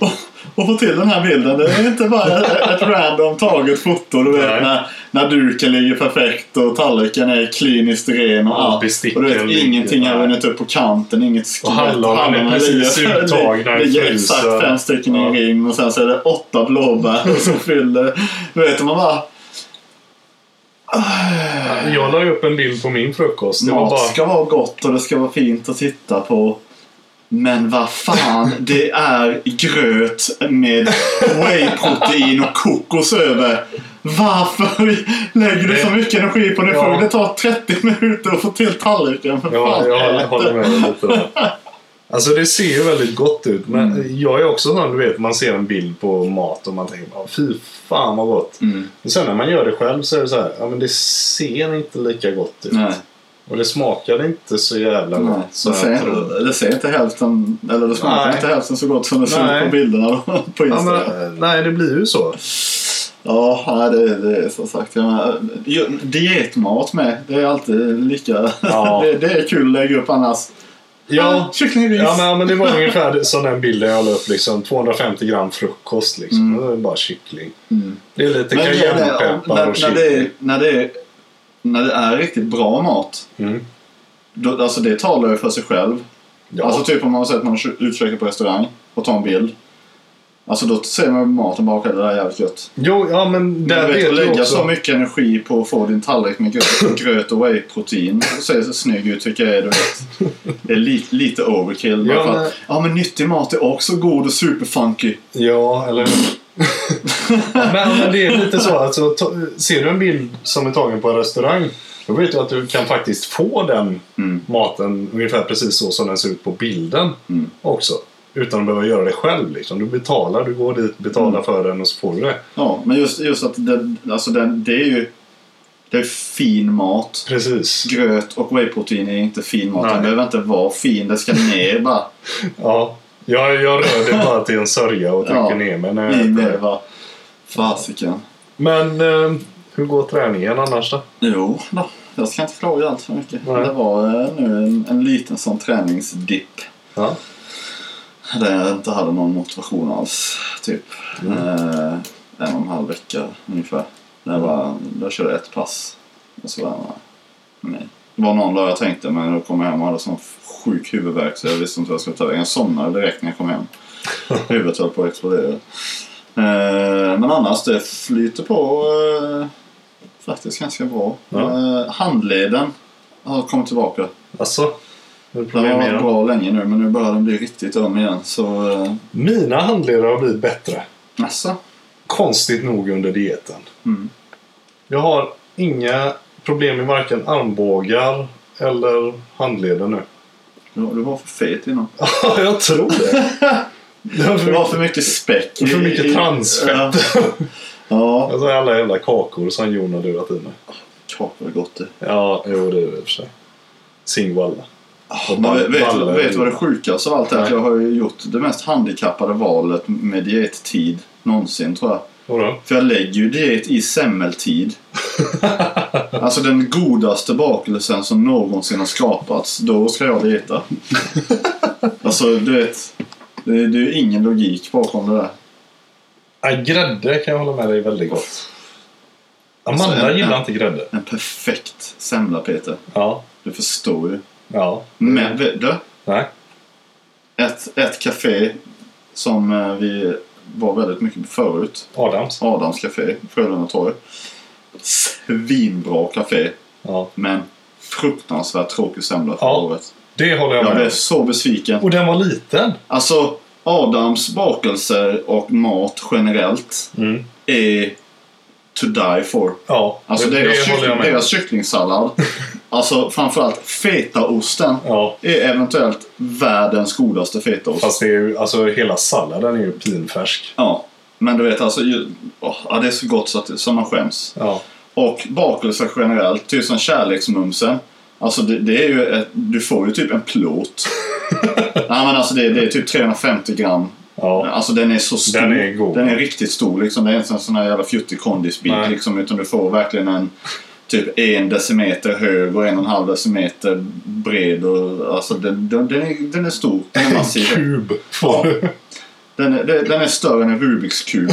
S2: att att få till den här bilden. Det är inte bara ett, ett random taget foto. Du
S1: Nej.
S2: vet när, när duken ligger perfekt och tallriken är kliniskt ren och
S1: Ja,
S2: allt.
S1: besticken
S2: Och du vet
S1: ligger-
S2: ingenting har
S1: nej.
S2: runnit upp på kanten, inget skvätt.
S1: Och hallonen är precis
S2: ligger-
S1: uttagna i
S2: ligger
S1: frysen.
S2: exakt fem stycken i
S1: Ja.
S2: en ring och sen så är det åtta blåbär som fyller. Du vet och man bara...
S1: Jag la ju upp en bild på min frukost. Det var
S2: Mat
S1: bara...
S2: ska vara gott och det ska vara fint att titta på. Men vad fan, det är gröt med whey-protein och kokos över. Varför lägger du så mycket energi på det?
S1: Ja.
S2: För det tar 30 minuter att få till tallriken. För
S1: Ja,
S2: fan,
S1: jag
S2: ät
S1: håller
S2: det.
S1: med dig lite där. Mm. Alltså det ser ju väldigt gott ut men jag är också sån du vet man ser en bild på mat och man tänker bara fy fan vad gott.
S2: Mm.
S1: Men sen när man gör det själv så är det så här, ja men det ser inte lika gott ut.
S2: Nej,
S1: Och det smakar inte så jävla
S2: nej.
S1: gott. Så
S2: Det,
S1: jag tror.
S2: ser, det ser inte hälften, eller det smakar
S1: Nej.
S2: inte hälften så gott som det ser
S1: Nej.
S2: ut på bilderna på
S1: Ja,
S2: Instagram.
S1: men, nej det blir ju så.
S2: Ja, nej, det, det är som sagt. Jag menar, ju- dietmat med. Det är alltid lika.
S1: Ja.
S2: det, det är kul att lägga upp annars.
S1: Ja,
S2: kycklingris.
S1: ja, men, ja men det var ungefär det- sån där bilden jag la upp liksom 250 gram frukost liksom.
S2: Mm.
S1: Och Det är bara kyckling.
S2: Mm.
S1: Det är lite
S2: Men det är det, om-
S1: cayennepeppar
S2: när,
S1: och
S2: när,
S1: kyckling.
S2: det är, när, det är, när det är riktigt bra mat.
S1: Mm.
S2: Då, alltså det talar ju för sig själv.
S1: Ja.
S2: Alltså typ om man har sett någon kö- utkäka på restaurang och tar en bild. Alltså då ser man ju maten bara okej det där är jävligt gött.
S1: Jo, ja men
S2: Men
S1: där
S2: du
S1: vet
S2: vet,
S1: du
S2: att lägga
S1: också.
S2: så mycket energi på att få din tallrik med gröt, gröt och whey-protein och se så snygg ut tycker jag är, du vet. Det är lite, lite overkill.
S1: Ja,
S2: Ja men...
S1: men-
S2: Att, ja men nyttig mat är också god och superfunky.
S1: Ja, eller... men, men det är lite så. Alltså, ta, ser du en bild som är tagen på en restaurang då vet du att du kan faktiskt få den
S2: Mm.
S1: maten ungefär precis så som den ser ut på bilden
S2: Mm.
S1: också. Utan att behöva göra det själv. Liksom. Du betalar, du går dit, betalar
S2: Mm.
S1: för den och så får du det.
S2: Ja, men just, just att det, alltså det, det är ju det är fin mat.
S1: Precis.
S2: Gröt och whey-protein är inte fin mat.
S1: Nej.
S2: Den behöver inte vara fin. Det ska ner bara.
S1: Ja. Jag, jag rör det bara till en sörja och trycker
S2: Ja.
S1: ner mig när jag
S2: I
S1: äter det.
S2: med va. Fasiken.
S1: Men eh, hur går träningen annars då?
S2: Jo, då. jag ska inte fråga allt för mycket.
S1: Nej.
S2: Det var eh, nu en, en liten sån träningsdipp.
S1: Ja.
S2: Där jag inte hade någon motivation alls. Typ.
S1: Mm.
S2: Eh, en och en halv vecka ungefär. Där jag, bara, där jag körde ett pass. Och så bara, nej. Det var någon dag jag tänkte, men då kom jag hem och hade sån sjuk huvudvärk så jag visste inte vad jag skulle ta vägen. Jag somnade direkt när jag kom hem. Huvudet höll på att explodera. Eh, men annars, det flyter på eh, faktiskt ganska bra.
S1: Ja.
S2: Eh, handleden har kommit tillbaka.
S1: Alltså? Hur
S2: Den
S1: planerar
S2: har
S1: ni
S2: varit
S1: då?
S2: bra länge nu, men nu börjar den bli riktigt öm igen. Så, eh,
S1: Mina handledare har blivit bättre.
S2: Massa.
S1: Konstigt nog under dieten.
S2: Mm.
S1: Jag har inga problem med varken armbågar eller handleder nu.
S2: Du var, du var för fet innan.
S1: Ja, jag tror det. Det var
S2: Det
S1: för
S2: var
S1: mycket,
S2: för mycket späck.
S1: för mycket transfett.
S2: Ja. ja.
S1: Alltså alla jävla kakor som Jon har lurat i mig.
S2: Kakor är gott det.
S1: Ja, jo det är det i och för sig. Singwalla. Och
S2: Men
S1: ball-
S2: vet- vet
S1: ballar.
S2: vet du vad det sjukaste av allt är? Att
S1: Nej.
S2: jag har ju gjort det mest handikappade valet med diettid någonsin tror jag.
S1: Vadå?
S2: För jag lägger ju diet i semmeltid. alltså den godaste bakelsen som någonsin har skapats. Då ska jag dieta. alltså du vet. Det är det är ju ingen logik bakom det där.
S1: Ja, grädde kan jag hålla med dig är väldigt gott. Amanda
S2: Alltså, en-
S1: gillar
S2: en-
S1: inte grädde.
S2: En perfekt semla Peter.
S1: Ja.
S2: Du förstår ju.
S1: Ja.
S2: Men vet du?
S1: Nej.
S2: Ett, ett café som eh, vi var väldigt mycket på förut.
S1: Adams.
S2: Adams café, Frölunda torg. Svinbra café,
S1: Ja.
S2: men fruktansvärt tråkig semla förra
S1: Ja,
S2: året.
S1: Det håller jag
S2: Jag
S1: med
S2: blev
S1: om.
S2: så besviken.
S1: Och den var liten.
S2: Alltså, Adams bakelser och mat generellt
S1: Mm.
S2: är to die for.
S1: Ja,
S2: Alltså
S1: det,
S2: deras,
S1: det håller jag
S2: kyckling,
S1: med om.
S2: deras kycklingsallad, alltså framförallt fetaosten,
S1: Ja,
S2: är eventuellt världens godaste fetaost.
S1: fast det är ju, alltså hela salladen är ju pinfärsk.
S2: Ja, men du vet alltså, ju, åh, ja, det är så gott så, att, så man skäms.
S1: Ja,
S2: Och bakelser generellt, typ som kärleksmumsen. Alltså det, det är ju ett, du får ju typ en plåt. Nej men alltså det, det är typ 350 gram.
S1: ja.
S2: Alltså den är så stor.
S1: Den är god.
S2: Den är riktigt stor liksom. Det är inte en sån här jävla fjuttig kondisbit
S1: Nej.
S2: liksom. Utan du får verkligen en typ en decimeter hög och en och en halv decimeter bred. Och, alltså den, den, den, är, den är stor. Den är
S1: En
S2: massiv.
S1: kub får du.
S2: Den är, den den är större än en Rubiks kub.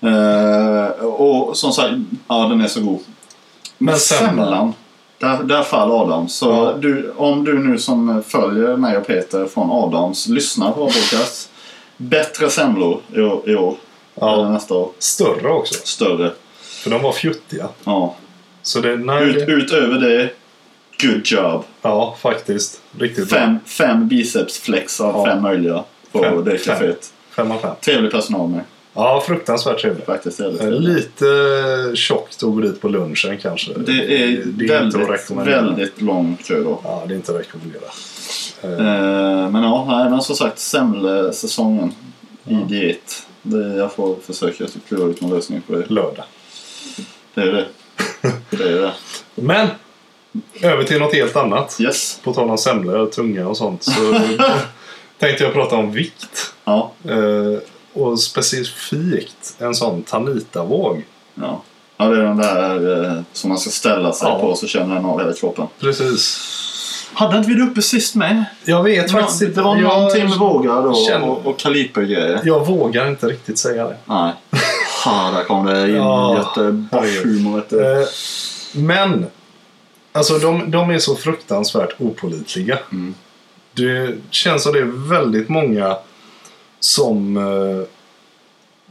S2: Eh, och som sagt, ja den är så god.
S1: Men
S2: Semlan, där, där faller Adams. Så
S1: Ja.
S2: du, om du nu som följer mig och Peter från Adams lyssnar på vår podcast. Bättre semlor i år, i år eller
S1: Ja.
S2: nästa år.
S1: Större också,
S2: Större.
S1: för de var fjuttiga.
S2: Ja.
S1: Så det, nej,
S2: Ut,
S1: det,
S2: utöver det, good job.
S1: ja faktiskt. Riktigt bra.
S2: Fem, fem bicepsflex av
S1: Ja.
S2: fem möjliga på
S1: Fem,
S2: det
S1: fem.
S2: caféet.
S1: Fem av fem.
S2: Trevlig personal med.
S1: Ja, fruktansvärt trevligt.
S2: Faktiskt jävligt
S1: Eh,
S2: trevlig.
S1: Lite tjockt att gå dit på lunchen kanske.
S2: Det är,
S1: inte att
S2: väldigt,
S1: rekommendera.
S2: väldigt lång kö då.
S1: Ja, det är inte att rekommendera.
S2: Eh, men ja, nej, men som sagt semlesäsongen i diet. Det, jag får försöka klura ut någon lösning på det.
S1: Lördag.
S2: Det är det. Det är det.
S1: Men! Över till något helt annat.
S2: Yes.
S1: På tal om semlor och tunga och sånt så tänkte jag prata om vikt.
S2: Ja.
S1: Eh, och specifikt en sån Tanita-våg.
S2: ja. Ja, det är den där eh, som man ska ställa sig
S1: Ja.
S2: på så känner den av hela kroppen.
S1: Precis.
S2: Hade inte vi det uppe sist med?
S1: Jag vet faktiskt
S2: Det
S1: inte.
S2: var
S1: jag,
S2: någonting med vågar då
S1: känner-
S2: och, och kalipergrejer.
S1: Jag vågar inte riktigt säga det.
S2: Nej. Ha, där kom det in
S1: Ja.
S2: Göteborgshumor vet du.
S1: Eh, men! Alltså de, de är så fruktansvärt opålitliga.
S2: Mm.
S1: Det känns som det är väldigt många som eh,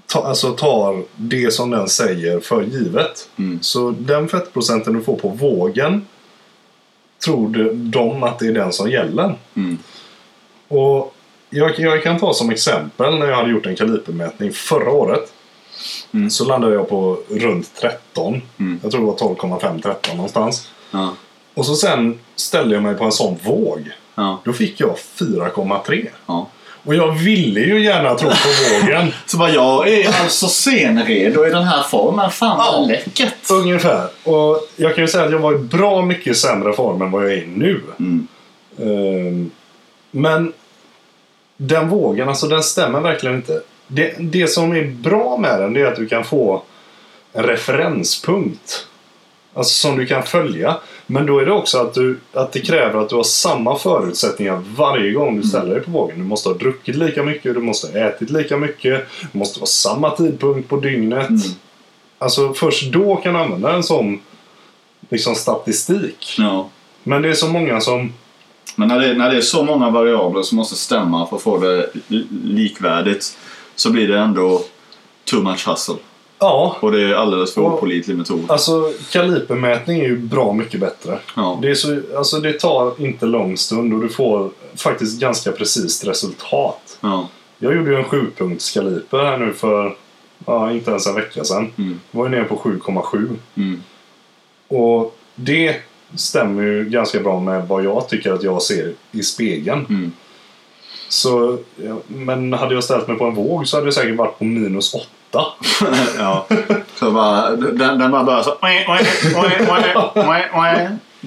S1: ta, alltså tar det som den säger för givet.
S2: Mm.
S1: Så den fettprocenten du får på vågen tror du- de att det är den som gäller.
S2: Mm.
S1: Och jag, jag kan ta som exempel när jag hade gjort en kalipermätning förra året.
S2: Mm.
S1: Så landade jag på runt 13.
S2: Mm.
S1: Jag tror det var 12,5-13 någonstans.
S2: Ja.
S1: Och så sen ställde jag mig på en sån våg.
S2: Ja.
S1: Då fick jag 4,3.
S2: Ja.
S1: Och jag ville ju gärna tro på vågen.
S2: Så bara, jag är alltså scenredo i den här formen. Fan vad läckert!
S1: Ungefär. Och jag kan ju säga att jag var i bra mycket sämre form än vad jag är i nu.
S2: Mm.
S1: Ehm, men den vågen, alltså den stämmer verkligen inte. Det, det som är bra med den det är att du kan få en referenspunkt. Alltså som du kan följa. Men då är det också att, du, att det kräver att du har samma förutsättningar varje gång du ställer dig på vågen. Du måste ha druckit lika mycket, du måste ha ätit lika mycket. Det måste vara samma tidpunkt på dygnet.
S2: Mm.
S1: Alltså först då kan du använda den som liksom statistik.
S2: Ja.
S1: Men det är så många som
S2: Men när det, när det är så många variabler som måste stämma för att få det li- likvärdigt så blir det ändå too much hustle.
S1: Ja,
S2: Och det är alldeles för
S1: Ja.
S2: opålitlig metod.
S1: alltså kalipermätning är ju bra mycket bättre.
S2: Ja.
S1: Det, är så, alltså, det tar inte lång stund och du får faktiskt ganska precis resultat.
S2: Ja.
S1: Jag gjorde ju en 7-punktskaliper här nu för ja, inte ens en vecka sedan.
S2: Mm.
S1: Jag var ju nere på 7,7
S2: Mm.
S1: och det stämmer ju ganska bra med vad jag tycker att jag ser i spegeln.
S2: Mm.
S1: Så, ja, men hade jag ställt mig på en våg så hade jag säkert varit på minus 8.
S2: ja. Så bara, den, den bara börjar så...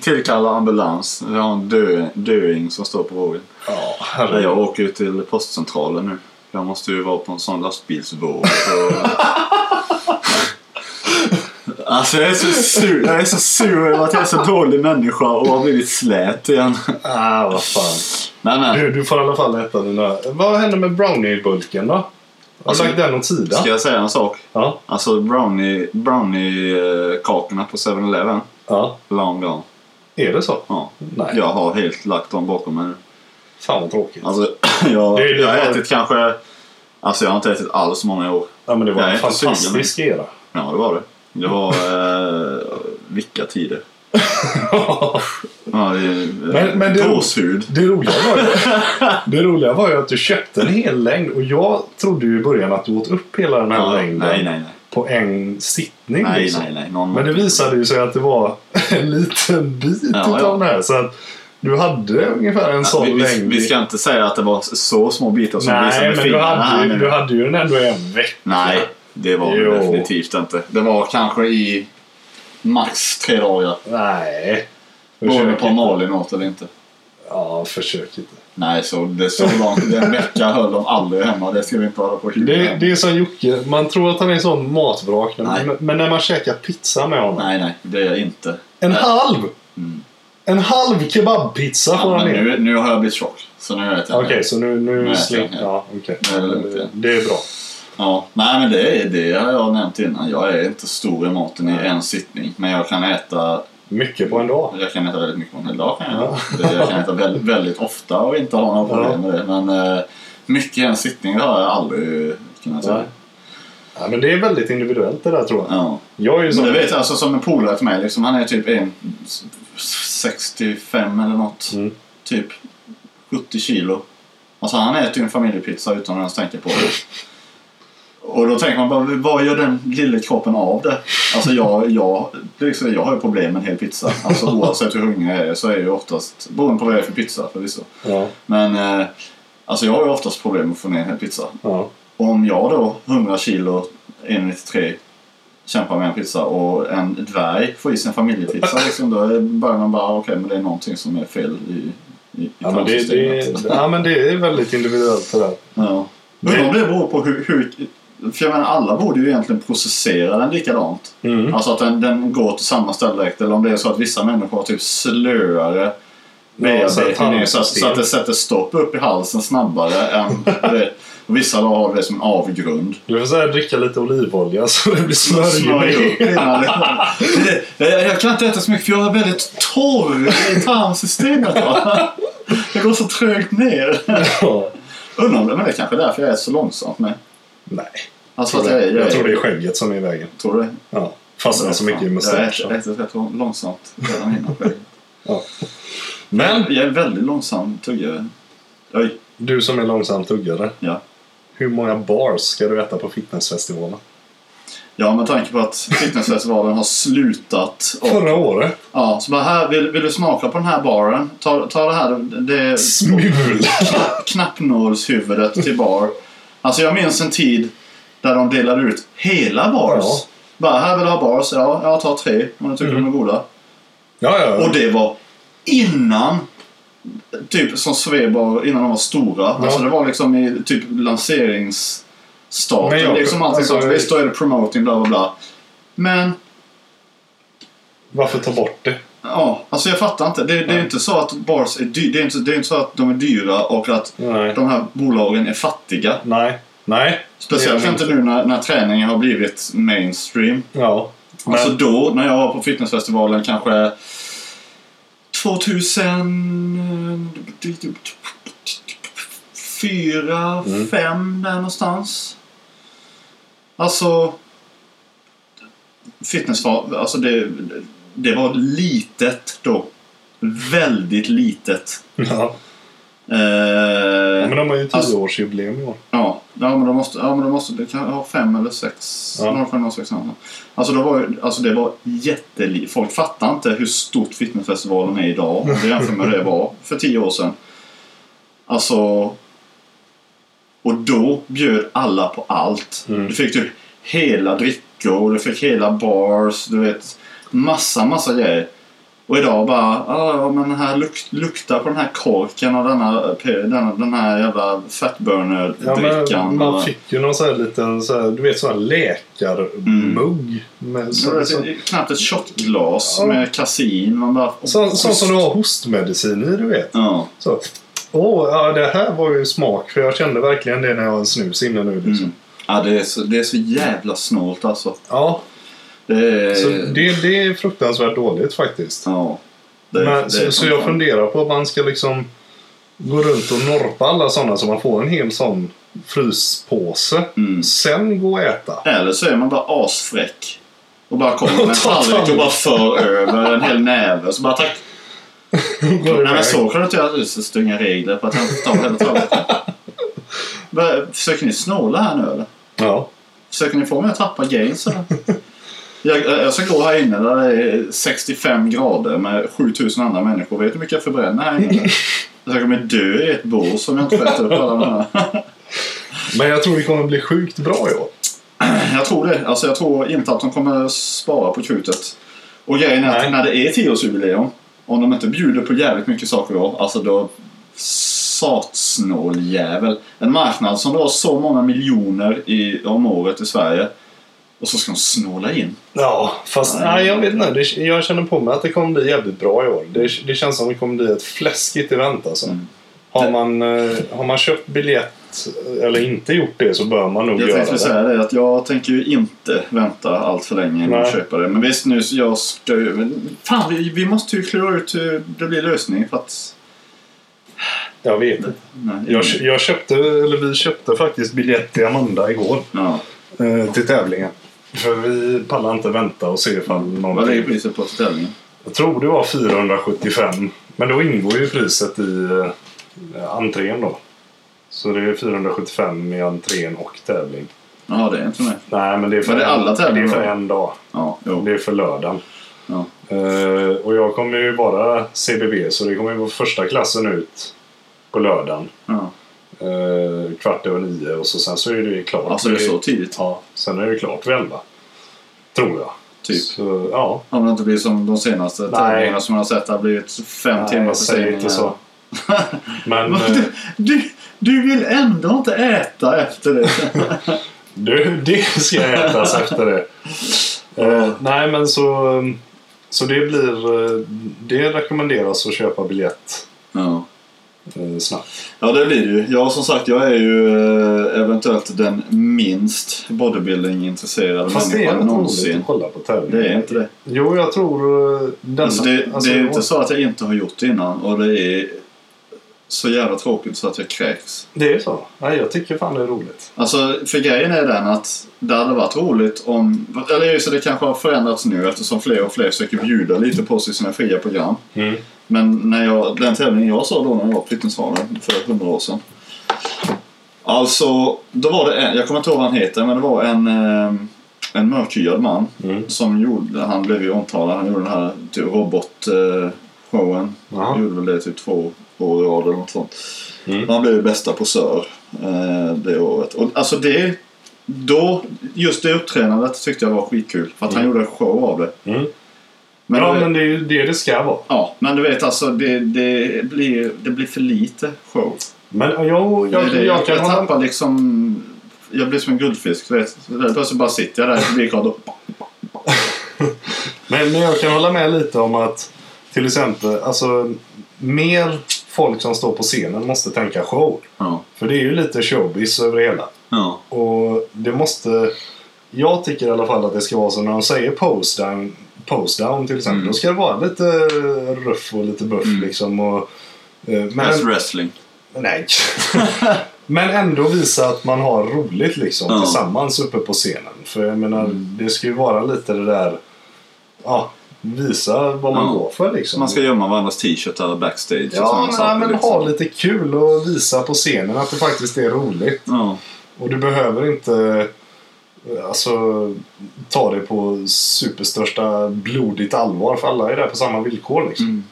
S2: Tillkalla ambulans. Vi har en dö, döing som står på vågen.
S1: Ja,
S2: Nej,
S1: herregud.
S2: Jag åker ju till postcentralen nu. Jag måste ju vara på en sån lastbilsvåg. Så... Alltså jag är så sur. Jag är så sur över att jag är så dålig människa och har blivit slät igen.
S1: Ah, vad fan.
S2: Nej men.
S1: Du, du får i alla fall äta dina... Vad hände med brownie-bulken då? Har du
S2: Alltså,
S1: lagt den åt sidan?
S2: Ska jag säga en sak?
S1: Ja.
S2: Alltså brownie, brownie-kakorna på 7-Eleven.
S1: ja.
S2: Long gone.
S1: Är det så?
S2: Ja.
S1: Nej.
S2: Jag har helt lagt dem bakom mig nu.
S1: Fan vad tråkigt.
S2: Alltså jag,
S1: Det är- det
S2: jag har
S1: var-
S2: ätit kanske... Alltså jag har inte ätit alls många år.
S1: ja, men det var
S2: jag är
S1: en
S2: inte sugen.
S1: fantastisk era.
S2: Ja, det var det. Det var... Eh, vilka tider. Ja, det är, eh,
S1: Men- men det-
S2: gåshud.
S1: det, roliga var ju, det roliga var ju att du köpte en hel längd och jag trodde ju i början att du åt upp hela den här
S2: Ja, nej,
S1: längden
S2: nej, nej.
S1: på en sittning.
S2: Nej,
S1: liksom.
S2: nej, nej. Någon,
S1: Men det visade ju sig att det var en liten bit
S2: Ja,
S1: utav
S2: ja.
S1: den här. Så att du hade ungefär en
S2: Ja,
S1: sån
S2: vi, vi,
S1: längd.
S2: vi ska inte säga att det var så små bitar som visade
S1: Nej,
S2: med
S1: men du
S2: fingrarna här
S1: hade, ju,
S2: nu.
S1: du hade ju den ändå i en vecka.
S2: Nej, det var
S1: Jo.
S2: det definitivt inte. Det var kanske i max tre dagar.
S1: Nej.
S2: Beroende
S1: Försök
S2: på
S1: inte.
S2: om Malin åt eller inte.
S1: Ja, försök inte.
S2: Nej, så det så långt. Den vecka höll de aldrig hemma. Det ska vi inte hålla på och hylla.
S1: Det, det är som Jocke. Man tror att han är en sån matvrak.
S2: Nej.
S1: Men, men när man käkar pizza med honom.
S2: Nej, nej. Det är jag inte.
S1: En
S2: Nej.
S1: halv!
S2: Mm.
S1: En halv kebabpizza får
S2: Ja,
S1: han
S2: men
S1: ner.
S2: nu, nu har jag blivit tjock. Så nu vet jag.
S1: Okej, så nu, nu
S2: Nej,
S1: släng...
S2: ja.
S1: Ja, okej.
S2: Nu är det lugnt igen.
S1: Det är bra.
S2: Ja, nej men det, är- det har jag nämnt innan. Jag är inte stor i maten
S1: Nej.
S2: i en sittning. Men jag kan äta,
S1: Mycket på en dag.
S2: jag kan äta väldigt mycket på en hel dag. Kan jag, göra. jag kan äta väldigt, väldigt ofta och inte ha några problem med det. Men eh, mycket i en sittning det har jag aldrig kunnat
S1: Nej.
S2: säga.
S1: Ja, men det är väldigt individuellt det där tror jag.
S2: Ja.
S1: Jag är ju
S2: Men
S1: sån...
S2: det vet jag, alltså, som en polare till mig. Liksom, han är typ en, 65 eller något.
S1: Mm.
S2: Typ 70 kilo. Alltså han äter ju en familjepizza utan att ens tänka på det. Och då tänker man bara, vad gör den lilla kroppen av det? Alltså jag, jag, liksom, jag har ju problem med en hel pizza. Alltså oavsett hur hungrig jag är så är jag ju oftast, beroende på vad det är för pizza förvisso.
S1: Ja,
S2: Men eh, alltså jag har ju oftast problem med att få ner en hel pizza.
S1: ja.
S2: Och om jag då, 100 kilo, 1,93 kämpar med en pizza och en dvärg får i sig en familjepizza liksom, då är- börjar man bara, okej men det är någonting som är fel i, i, i
S1: Ja, men det, det,
S2: tarmsystemet.
S1: ja, men det är väldigt individuellt det där.
S2: Ja.
S1: Det-
S2: Undrar om det beror på hur, hur... För jag menar, alla borde ju egentligen processera den likadant.
S1: Mm.
S2: Alltså att den, den går till samma ställe direkt. Eller om det är så att vissa människor har typ slöare
S1: så att
S2: bearbetning. så, att-
S1: tarmsystem.
S2: så att det sätter stopp upp i halsen snabbare än... du vet, och vissa då har det som en avgrund.
S1: Du får säga dricka lite olivolja så det blir
S2: Smörj
S1: smörjning.
S2: upp innan det- Jag jag kan inte äta så mycket för jag är väldigt torr i tarmsystemet. va? Det går så trögt ner.
S1: Ja.
S2: Undrar om det, men det är kanske är därför jag är så långsamt med.
S1: Nej,
S2: Alltså att jag, jag,
S1: jag tror det är skägget som är i vägen.
S2: Tror du det?
S1: Ja. Fastnar så mycket i
S2: mustaschen. Jag
S1: mustaschen.
S2: äter rätt långsamt redan innan skägget.
S1: Ja. Men
S2: Jag är väldigt långsam tuggare. Oj,
S1: du som är långsam tuggare.
S2: ja.
S1: Hur många bars ska du äta på fitnessfestivalen?
S2: Ja, med tanke på att fitnessfestivalen har slutat. Och,
S1: Förra året.
S2: ja, så bara här, vill, vill du smaka på den här baren? Ta, ta det här det,
S1: Smula.
S2: knappnålshuvudet till bar. Alltså jag minns en tid där de delade ut hela bars.
S1: Ja.
S2: Bara, här vill du ha bars? Ja, jag tar tre om du tycker de är goda.
S1: Ja, ja.
S2: Och det var innan, typ som Svebar, innan de var stora. Alltså det var liksom i typ
S1: Men
S2: lanseringsstarten.
S1: jag- alltså,
S2: Liksom allting sånt.
S1: jag-
S2: Visst, då är det promoting, bla bla bla. Men,
S1: Varför ta bort det?
S2: ja, alltså jag fattar inte. Det, det är ju
S1: Nej.
S2: inte så att bars är dyra. Det är inte, det är inte så att de är dyra och att
S1: Nej.
S2: de här bolagen är fattiga.
S1: Nej. Nej.
S2: Speciellt
S1: Det är
S2: inte nu när, när träningen har blivit mainstream.
S1: Ja. Men,
S2: Alltså då, när jag var på fitnessfestivalen kanske 2000... Fyra,
S1: Mm.
S2: fem där någonstans. Alltså... Fitness var... Alltså det, det var litet då. Väldigt litet.
S1: ja.
S2: Eh,
S1: Men de har ju
S2: Alltså-
S1: tioårsjubileum i år.
S2: Ja, ja men de måste, ja, men de måste det kan ha fem eller sex.
S1: Ja.
S2: Ja. 05, 06, någonting. alltså, det var, ju- alltså det var jätteliv. Folk fattar inte hur stort fitnessfestivalen är idag om vi jämför med hur det var för tio år sedan. Alltså... Och då bjöd alla på allt.
S1: Mm.
S2: Du fick typ hela drickor, du fick hela bars, du vet. Massa, massa grejer. Och idag bara, "Ah, ja men den här luk- lukta på den här korken och denna, p- denna, den här jävla
S1: Ja, men
S2: fatburner-drickan.
S1: man
S2: och-
S1: fick ju någon sån här liten, så här, du vet sån här läkarmugg. Med,
S2: Så
S1: så,
S2: det
S1: så,
S2: är knappt ett shotglas
S1: Ja.
S2: med kasin. Man bara...
S1: så, så som du har hostmedicin i, du vet.
S2: Ja.
S1: Så. Åh, ja, det här var ju smak. För jag kände verkligen det när jag var en snus innan nu. Liksom.
S2: Mm. Ja, det är, så, det är så jävla snålt alltså.
S1: Ja,
S2: Det är...
S1: så det, det är fruktansvärt dåligt faktiskt.
S2: Ja. Det är-
S1: Men,
S2: det är
S1: så, så
S2: som
S1: jag
S2: fan.
S1: funderar på att man ska liksom gå runt och norpa alla sådana så man får en hel sån fryspåse.
S2: Mm.
S1: Sen gå och äta.
S2: Eller så är man bara asfräck. Och bara kommer med en
S1: tar
S2: tallrik och
S1: tallrik.
S2: bara för över en hel näve. Så bara tack.
S1: Går
S2: Nej men
S1: iväg.
S2: så kan du inte göra. Det är så stränga regler på att han inte tar hela tallriken. Men, Försöker ni snåla här nu eller?
S1: Ja.
S2: Försöker ni få mig att tappa gains eller? Jag, jag ska gå här inne där det är 65 grader med 7000 andra människor. Vet du hur mycket jag förbränner här inne? Jag kommer dö i ett bås om jag inte får äta upp alla de här.
S1: Men jag tror det kommer bli sjukt bra i år.
S2: Jag tror det. Alltså jag tror inte att de kommer spara på krutet. Och grejen är
S1: Nej.
S2: att när det är 10-årsjubileum, om de inte bjuder på jävligt mycket saker då, alltså då satsnåljävel. En marknad som drar så många miljoner i, om året i Sverige och så ska de snåla in.
S1: Ja, fast nej, jag vet inte. Det, jag känner på mig att det kommer bli jävligt bra i år. Det, det känns som det kommer bli ett fläskigt event alltså.
S2: Mm.
S1: Har, man, eh, har man köpt biljett eller inte gjort det så bör man nog
S2: Jag
S1: göra
S2: tänkte
S1: det.
S2: säga det att jag tänker ju inte vänta allt för länge innan
S1: Nej.
S2: jag köper det. Men visst nu, så jag ska ju... men Fan, vi, vi måste ju klura ut hur det blir lösning för att...
S1: Jag vet inte.
S2: Nej,
S1: Jag, jag köpte, eller vi köpte faktiskt biljett till Amanda igår.
S2: ja.
S1: eh, till tävlingen. För vi pallar inte vänta och se ifall
S2: Vad ligger
S1: någonting...
S2: priset på ställningen?
S1: Jag tror det var 475. Men då ingår ju priset i eh, entrén då. Så det är 475 i entrén och tävling.
S2: Ja, det är inte mig.
S1: Nej, men det är för,
S2: Men det är alla tävlingar
S1: det är för
S2: då?
S1: en dag.
S2: Ja, jo.
S1: Det är för lördagen.
S2: Ja.
S1: Eh, och jag kommer ju vara CBB så det kommer ju vara första klassen ut på lördagen.
S2: Ja.
S1: Eh, kvart över nio och så sen så är det ju klart.
S2: Alltså det är så tidigt.
S1: Ja, sen är det klart vid elva. Tror jag.
S2: Typ.
S1: Så, ja.
S2: Om det inte blir som de senaste tävlingarna som man har sett. Det har blivit fem
S1: Nej,
S2: timmar
S1: jag säger
S2: förseningar.
S1: inte så. Men
S2: Men
S1: eh,
S2: du, du, du vill ändå inte äta efter det.
S1: du, det ska ätas efter det. Eh, nej, men så... eh, Så det blir... eh, Det rekommenderas att köpa biljett
S2: ja.
S1: eh, snabbt.
S2: Ja, det blir det ju. Ja, som sagt, jag är ju eh, eventuellt den minst bodybuilding-intresserade
S1: Fast det är
S2: människan
S1: inte roligt
S2: någonsin.
S1: att kolla på tävlingar.
S2: Det är inte det.
S1: Jo, jag tror... eh, Denna,
S2: Alltså, det,
S1: alltså,
S2: det är ju inte så att jag inte har gjort det innan och det är så jävla tråkigt så att jag kräks.
S1: Det är så. Nej, jag tycker fan det är roligt.
S2: Alltså, för grejen är den att det hade varit roligt om... Eller just det, det kanske har förändrats nu eftersom fler och fler försöker bjuda lite på sig i sina fria program.
S1: Mm,
S2: Men när jag, den tävlingen jag såg då när jag var på Flyttningsvalen för hundra år sedan. Alltså, då var det en, jag kommer inte ihåg vad han heter, men det var en eh,
S3: en mörkhyad man
S1: Mm.
S3: som gjorde, han blev ju omtalad, han gjorde den här typ, robotshowen.
S1: Ja.
S3: Han gjorde väl det typ två år i rad eller något sånt.
S1: Mm.
S3: Han blev ju bästa posör eh, det året. Och, alltså det, då, just det uppträdandet tyckte jag var skitkul. För att han gjorde en show av det.
S1: Mm.
S3: Men,
S1: ja,
S3: du-
S1: men det är ju det det ska vara.
S3: ja, men du vet alltså, det, det, blir, det blir för lite show.
S1: Men ja, jag, jag,
S3: Jag,
S1: jag,
S3: jag,
S1: kan hålla
S3: tappar liksom... Jag blir som en guldfisk. Du vet. Så där Plötsligt bara sitter jag där i publikraden och...
S1: Men, men jag kan hålla med lite om att till exempel, alltså mer folk som står på scenen måste tänka show.
S3: Ja.
S1: För det är ju lite showbiz över det hela.
S3: Ja.
S1: Och det måste... Jag tycker i alla fall att det ska vara så när de säger pose down, pose down till exempel.
S3: Mm.
S1: Då ska det vara lite ruff och lite buff
S3: Mm.
S1: liksom. Och, eh,
S3: That's
S1: men,
S3: wrestling.
S1: nej. men ändå visa att man har roligt liksom
S3: Ja.
S1: tillsammans uppe på scenen. För jag menar, det ska ju vara lite det där... Ja, visa vad man
S2: Ja.
S1: går för liksom.
S2: Man ska gömma varandras t-shirtar backstage och
S1: Ja,
S2: sådana
S1: men,
S2: saker.
S1: men
S2: liksom.
S1: ha lite kul och visa på scenen att det faktiskt är roligt.
S2: ja.
S1: Och du behöver inte eh, alltså, ta det på superstörsta blodigt allvar för alla är där på samma villkor.
S2: Mm.
S1: Liksom.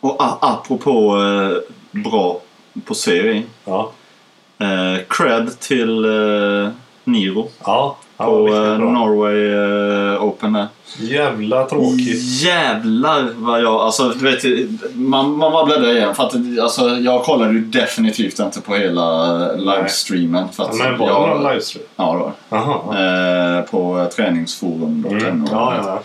S2: Och a- apropå eh, bra posering.
S1: Ja.
S2: Eh, cred till eh, Niro
S1: Ja. ja
S2: på
S1: riktigt
S2: eh,
S1: bra.
S2: Norway eh, Open där.
S1: Jävla tråkigt.
S2: Jävlar vad jag... Alltså, du vet, man, man bara bläddrar igen. För att, alltså, jag kollade ju definitivt inte på hela eh, livestreamen. För
S1: Ja,
S2: att
S1: men var det någon
S2: jag,
S1: livestream?
S2: ja, det var det.
S1: Jaha.
S2: Eh, på eh, träningsforum.no.
S1: Mm. Ja, ja,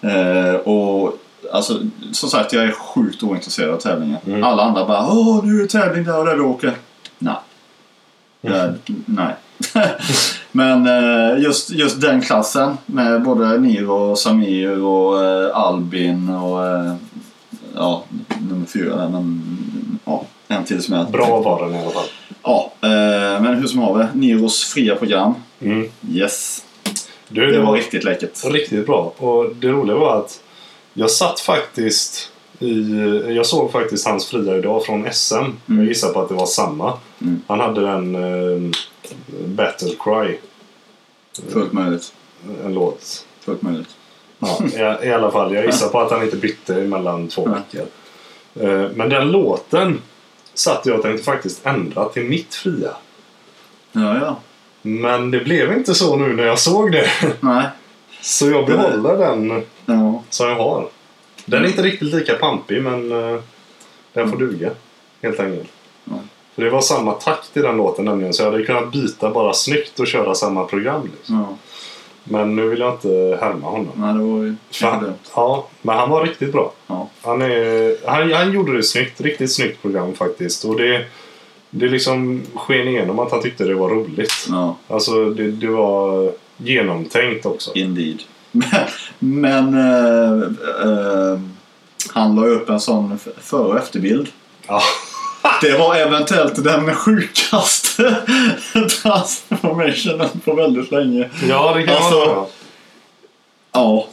S1: ja.
S2: Eh, och alltså, som sagt, jag är sjukt ointresserad av tävlingen.
S1: Mm.
S2: Alla andra bara Åh, nu är det tävling där och där vi åker. Nej.
S1: Mm.
S2: Eh, nej. Men eh, just, just den klassen med både Niro och Samir och eh, Albin och eh, ja, nummer fyra där, men ja, en till som jag...
S1: Bra var den i alla fall.
S2: Ja, eh, men hur som haver, Niros fria program.
S1: Mm.
S2: Yes,
S1: Du,
S2: det var riktigt läckert.
S1: Riktigt bra. Och det roliga var att jag satt faktiskt i... Jag såg faktiskt hans fria idag från SM. Jag gissar på att det var samma.
S2: Mm.
S1: Han hade den eh, Battle Cry,
S2: Fullt möjligt.
S1: en låt.
S2: Fullt möjligt.
S1: Ja, i, I alla fall, jag gissar på att han inte bytte mellan två
S2: Nej.
S1: veckor. Eh, men den låten satt jag och tänkte faktiskt ändra till mitt fria.
S2: Ja, ja.
S1: Men det blev inte så nu när jag såg det.
S2: Nej.
S1: Så jag behåller den
S2: Ja.
S1: som jag har. Den är inte riktigt lika pampig men eh, den får duga helt enkelt.
S2: Ja.
S1: För det var samma takt i den låten nämligen så jag hade kunnat byta bara snyggt och köra samma program. Liksom.
S2: ja.
S1: Men nu vill jag inte härma honom.
S2: Nej, det var ju
S1: För han, ja, men han var riktigt bra.
S2: Ja.
S1: Han, är, han, han gjorde det snyggt. Riktigt snyggt program faktiskt. Och det, det liksom sken igenom att han tyckte det var roligt.
S2: Ja,
S1: Alltså det, det var genomtänkt också.
S2: indeed. Men, men eh, eh, han la upp en sån f- före och efterbild.
S1: Ja.
S2: Det var eventuellt den sjukaste transformationen på väldigt länge.
S1: Ja, det kan
S2: Alltså,
S1: man säga.
S2: Ja.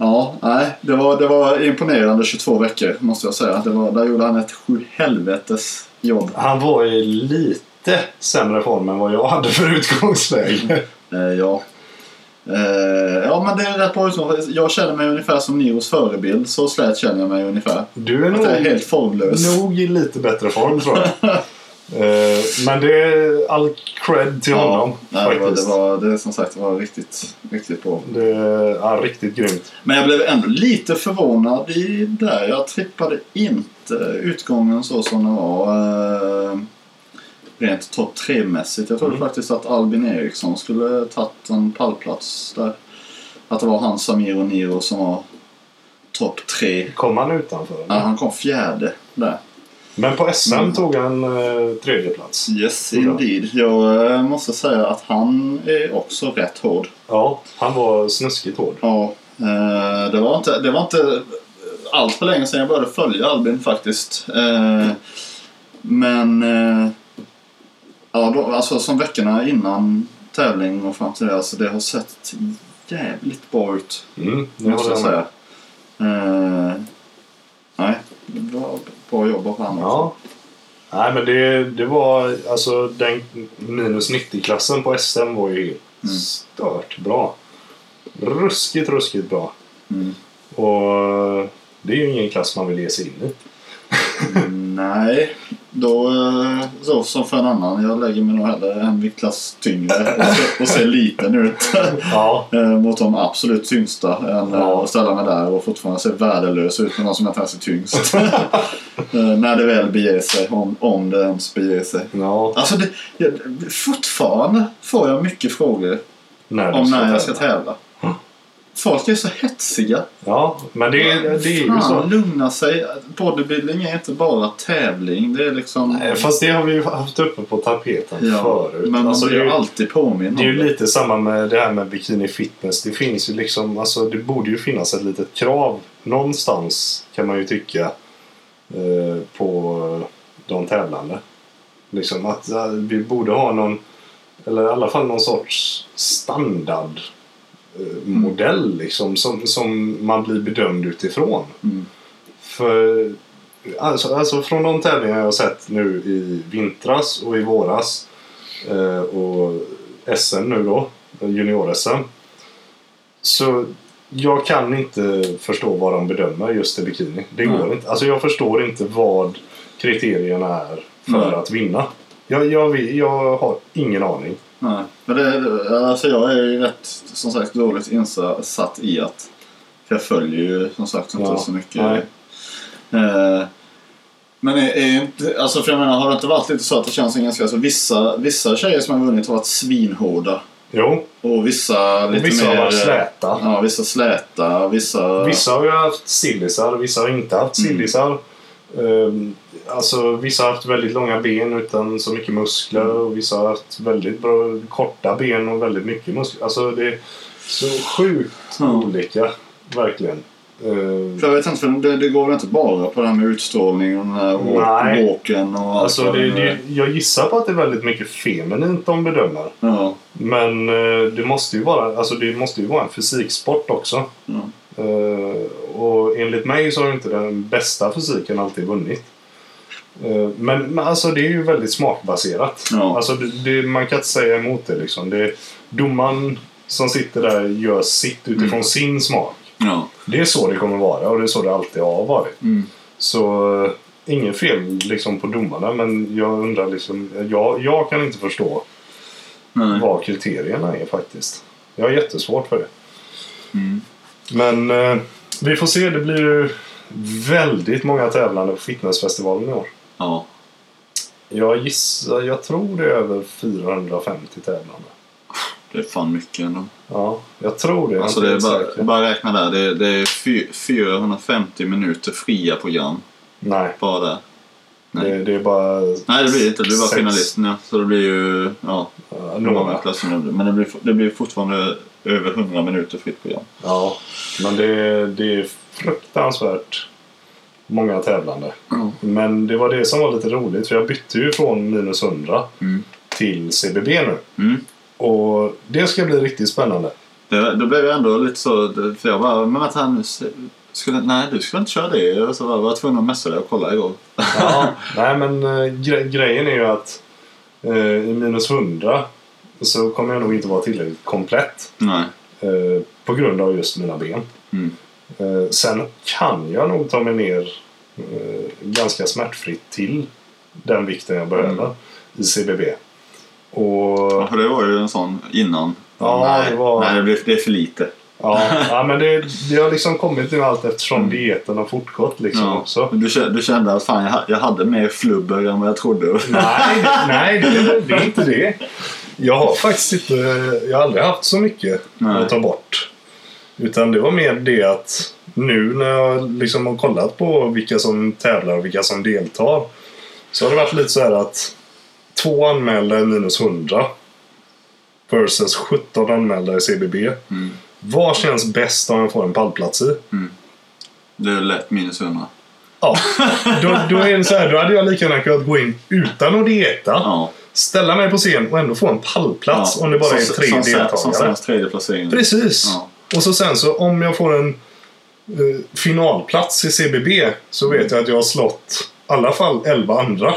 S2: Ja, nej. Det var, det var imponerande 22 veckor måste jag säga. Det var, där gjorde han ett sju helvetes jobb.
S1: Han var i lite sämre form än vad jag hade för utgångsläge.
S2: Eh, ja. Eh, ja, men det är rätt bra utgångspunkt. Jag känner mig ungefär som Niros förebild. Så slät känner jag mig ungefär.
S1: Du är
S2: Att jag är
S1: nog,
S2: helt formlös.
S1: nog i lite bättre form tror jag. Eh, Men det är all cred till honom
S2: nej, det, var, det,
S1: faktiskt.
S2: var, det är som sagt det var riktigt, riktigt bra.
S1: Det är ja, riktigt grymt.
S2: Men jag blev ändå lite förvånad i där. Jag trippade inte utgången så som den var. Eh, rent topp 3-mässigt. Jag trodde
S1: Mm.
S2: faktiskt att Albin Eriksson skulle tagit en pallplats där. Att det var han, Samir och Niro som var topp 3.
S1: Kom han utanför?
S2: Ja, han kom fjärde där.
S1: Men på SM
S2: Mm.
S1: tog han eh, tredje plats.
S2: Yes,
S1: Bra.
S2: indeed. Jag eh, måste säga att han är också rätt hård.
S1: Ja, han var snuskigt hård.
S2: Ja, eh, det var inte, det var inte allt för länge sedan jag började följa Albin faktiskt. Eh, Men eh, ja, då, alltså som veckorna innan tävling och fram till det, alltså det har sett jävligt bra ut.
S1: Mm, det
S2: Måste
S1: håller
S2: jag
S1: jag med.
S2: säga. Eh, Nej, bra, bra jobb av honom.
S1: Ja. Nej, men det, det var
S2: Mm.
S1: alltså den minus 90-klassen på SM var ju stört bra. Ruskigt, ruskigt bra.
S2: Mm.
S1: Och det är ju ingen klass man vill ge sig in i.
S2: Nej, då eh, så som för en annan. Jag lägger mig nog hellre en viktklass tyngre och ser, och ser liten ut
S1: Ja.
S2: eh, mot de absolut tyngsta än eh,
S1: Ja.
S2: att ställa mig där och fortfarande se värdelös ut med någon som inte ens är tyngst. Eh, När det väl beger sig, om, om det ens beger sig.
S1: ja.
S2: Alltså det, jag, fortfarande får jag mycket frågor
S1: När du
S2: om när jag ska
S1: tävla.
S2: tävla. Folk är så hetsiga.
S1: Ja, men det, det är ju
S2: Fan,
S1: så.
S2: lugna sig. Bodybuilding är inte bara tävling. Det är liksom...
S1: Nej, Eh, Fast det har vi ju haft uppe på tapeten
S2: Ja,
S1: förut.
S2: men
S1: Alltså,
S2: man
S1: det
S2: blir
S1: är ju-
S2: alltid påminn om
S1: Det är ju
S2: det.
S1: lite samma med det här med bikini fitness. Det finns ju liksom, alltså det borde ju finnas ett litet krav någonstans kan man ju tycka eh, på de tävlande. Liksom att eh, vi borde ha någon, eller i alla fall någon sorts standard eh, modell liksom som, som man blir bedömd utifrån.
S2: Mm.
S1: För alltså, alltså från de tävlingar jag har sett nu i vintras och i våras eh, och SM nu då, junior-SM. Så jag kan inte förstå vad de bedömer just i bikini. Det
S2: Nej.
S1: går inte. Alltså jag förstår inte vad kriterierna är för
S2: Nej.
S1: att vinna. Jag, jag, vet- jag har ingen aning.
S2: Nej. Men det, alltså jag är ju rätt, som sagt, dåligt insatt i att... För jag följer ju som sagt inte
S1: Ja,
S2: så mycket.
S1: nej.
S2: Eh, men är, är inte, alltså för jag menar, har det inte varit lite så att det känns som ganska... Alltså vissa, vissa tjejer som har vunnit har varit svinhårda.
S1: Jo,
S2: Och vissa lite
S1: vissa
S2: mer... eh,
S1: har varit släta.
S2: Ja, vissa släta. Vissa...
S1: Vissa har ju haft sillisar, vissa har inte haft
S2: Mm.
S1: sillisar. Ehm, Alltså, vissa har haft väldigt långa ben utan så mycket muskler och vissa har haft väldigt bra, korta ben och väldigt mycket muskler. Alltså det är så sjukt
S2: Ja.
S1: olika, verkligen. Ehm,
S2: För jag vet inte, för det, det går väl inte bara på det här med utstrålning och den
S1: Nej.
S2: här walk- walken och allt
S1: Alltså
S2: vad
S1: det,
S2: nu är.
S1: det, jag gissar på att det är väldigt mycket feminint de bedömer.
S2: Ja.
S1: Men eh, det måste ju vara, alltså det måste ju vara en fysiksport också.
S2: Ja.
S1: Eh, och enligt mig så har inte den bästa fysiken alltid vunnit. Eh, men, men alltså det är ju väldigt smakbaserat.
S2: Ja.
S1: Alltså det, det, man kan inte säga emot det liksom. Det, domaren som sitter där gör sitt utifrån
S2: Mm.
S1: sin smak.
S2: Ja.
S1: Det är så det kommer vara och det är så det alltid har varit.
S2: Mm.
S1: Så eh, inget fel liksom på domarna men jag undrar liksom, jag, jag kan inte förstå
S2: Nej.
S1: vad kriterierna är faktiskt. Jag har jättesvårt för det.
S2: Mm.
S1: Men eh, vi får se. Det blir ju väldigt många tävlande på Fitnessfestivalen i år.
S2: Ja.
S1: Jag gissar, jag tror det är över 450 tävlande.
S2: Det är fan mycket ändå.
S1: Ja, jag tror det. Jag
S2: Alltså
S1: inte
S2: det är
S1: helt
S2: bara,
S1: säker.
S2: bara räkna där. Det är, det är fy- 450 minuter fria program.
S1: Nej,
S2: Bara där. Nej.
S1: Det, det är bara...
S2: Nej det blir inte. Det blir bara
S1: sex-
S2: finalisterna. Så det blir ju... Ja,
S1: ja,
S2: hur många
S1: några.
S2: klasser det blir. Men det blir, det blir fortfarande över 100 minuter fritt program.
S1: Ja, men det, det är fruktansvärt många tävlande.
S2: Ja.
S1: Men det var det som var lite roligt för jag bytte ju från minus 100
S2: Mm.
S1: till CBB nu.
S2: Mm.
S1: Och det ska bli riktigt spännande.
S2: Det, då blev jag ändå lite så... det- För jag bara, men vänta här nu. se- Skulle, nej, du skulle inte köra det. Och så var jag var tvungen att messa dig och kolla igår.
S1: Ja, nej men eh, gre- grejen är ju att eh, i minus 100 så kommer jag nog inte vara tillräckligt komplett
S2: Nej.
S1: eh, på grund av just mina ben.
S2: Mm.
S1: Eh, sen kan jag nog ta mig ner eh, ganska smärtfritt till den vikten jag behöver
S2: Mm.
S1: i CBB. Och
S2: Ja, för det var ju en sån innan.
S1: Ja,
S2: nej,
S1: det var-
S2: nej det, blev, det är för lite.
S1: ja, ja, men det, det har liksom kommit nu allt eftersom dieten har fortgått liksom
S2: Mm. Ja.
S1: också.
S2: Du, kä- du kände att fan, jag, ha- jag hade mer flubber än vad jag trodde.
S1: Nej, nej det, det är inte det. Jag har faktiskt inte, jag har aldrig haft så mycket
S2: Nej.
S1: att ta bort. Utan det var mer det att nu när jag liksom har kollat på vilka som tävlar och vilka som deltar. Så har det varit lite så här att två anmälda är minus 100. Versus 17 anmälda i CBB.
S2: Mm.
S1: Vad känns bäst om jag får en pallplats i?
S2: Det är lätt minus 100.
S1: Ja, då, då, är det så här, då hade jag lika gärna kunnat gå in utan att dieta.
S2: Ja.
S1: ställa mig på scen och ändå få en pallplats om det bara är
S2: Som-
S1: tre
S2: som,
S1: deltagare.
S2: Som sämst tredje placering.
S1: Precis!
S2: Ja.
S1: Och så sen så om jag får en eh,
S2: Mm. Mm.
S1: finalplats i CBB så vet jag att jag har slått i alla fall 11 andra.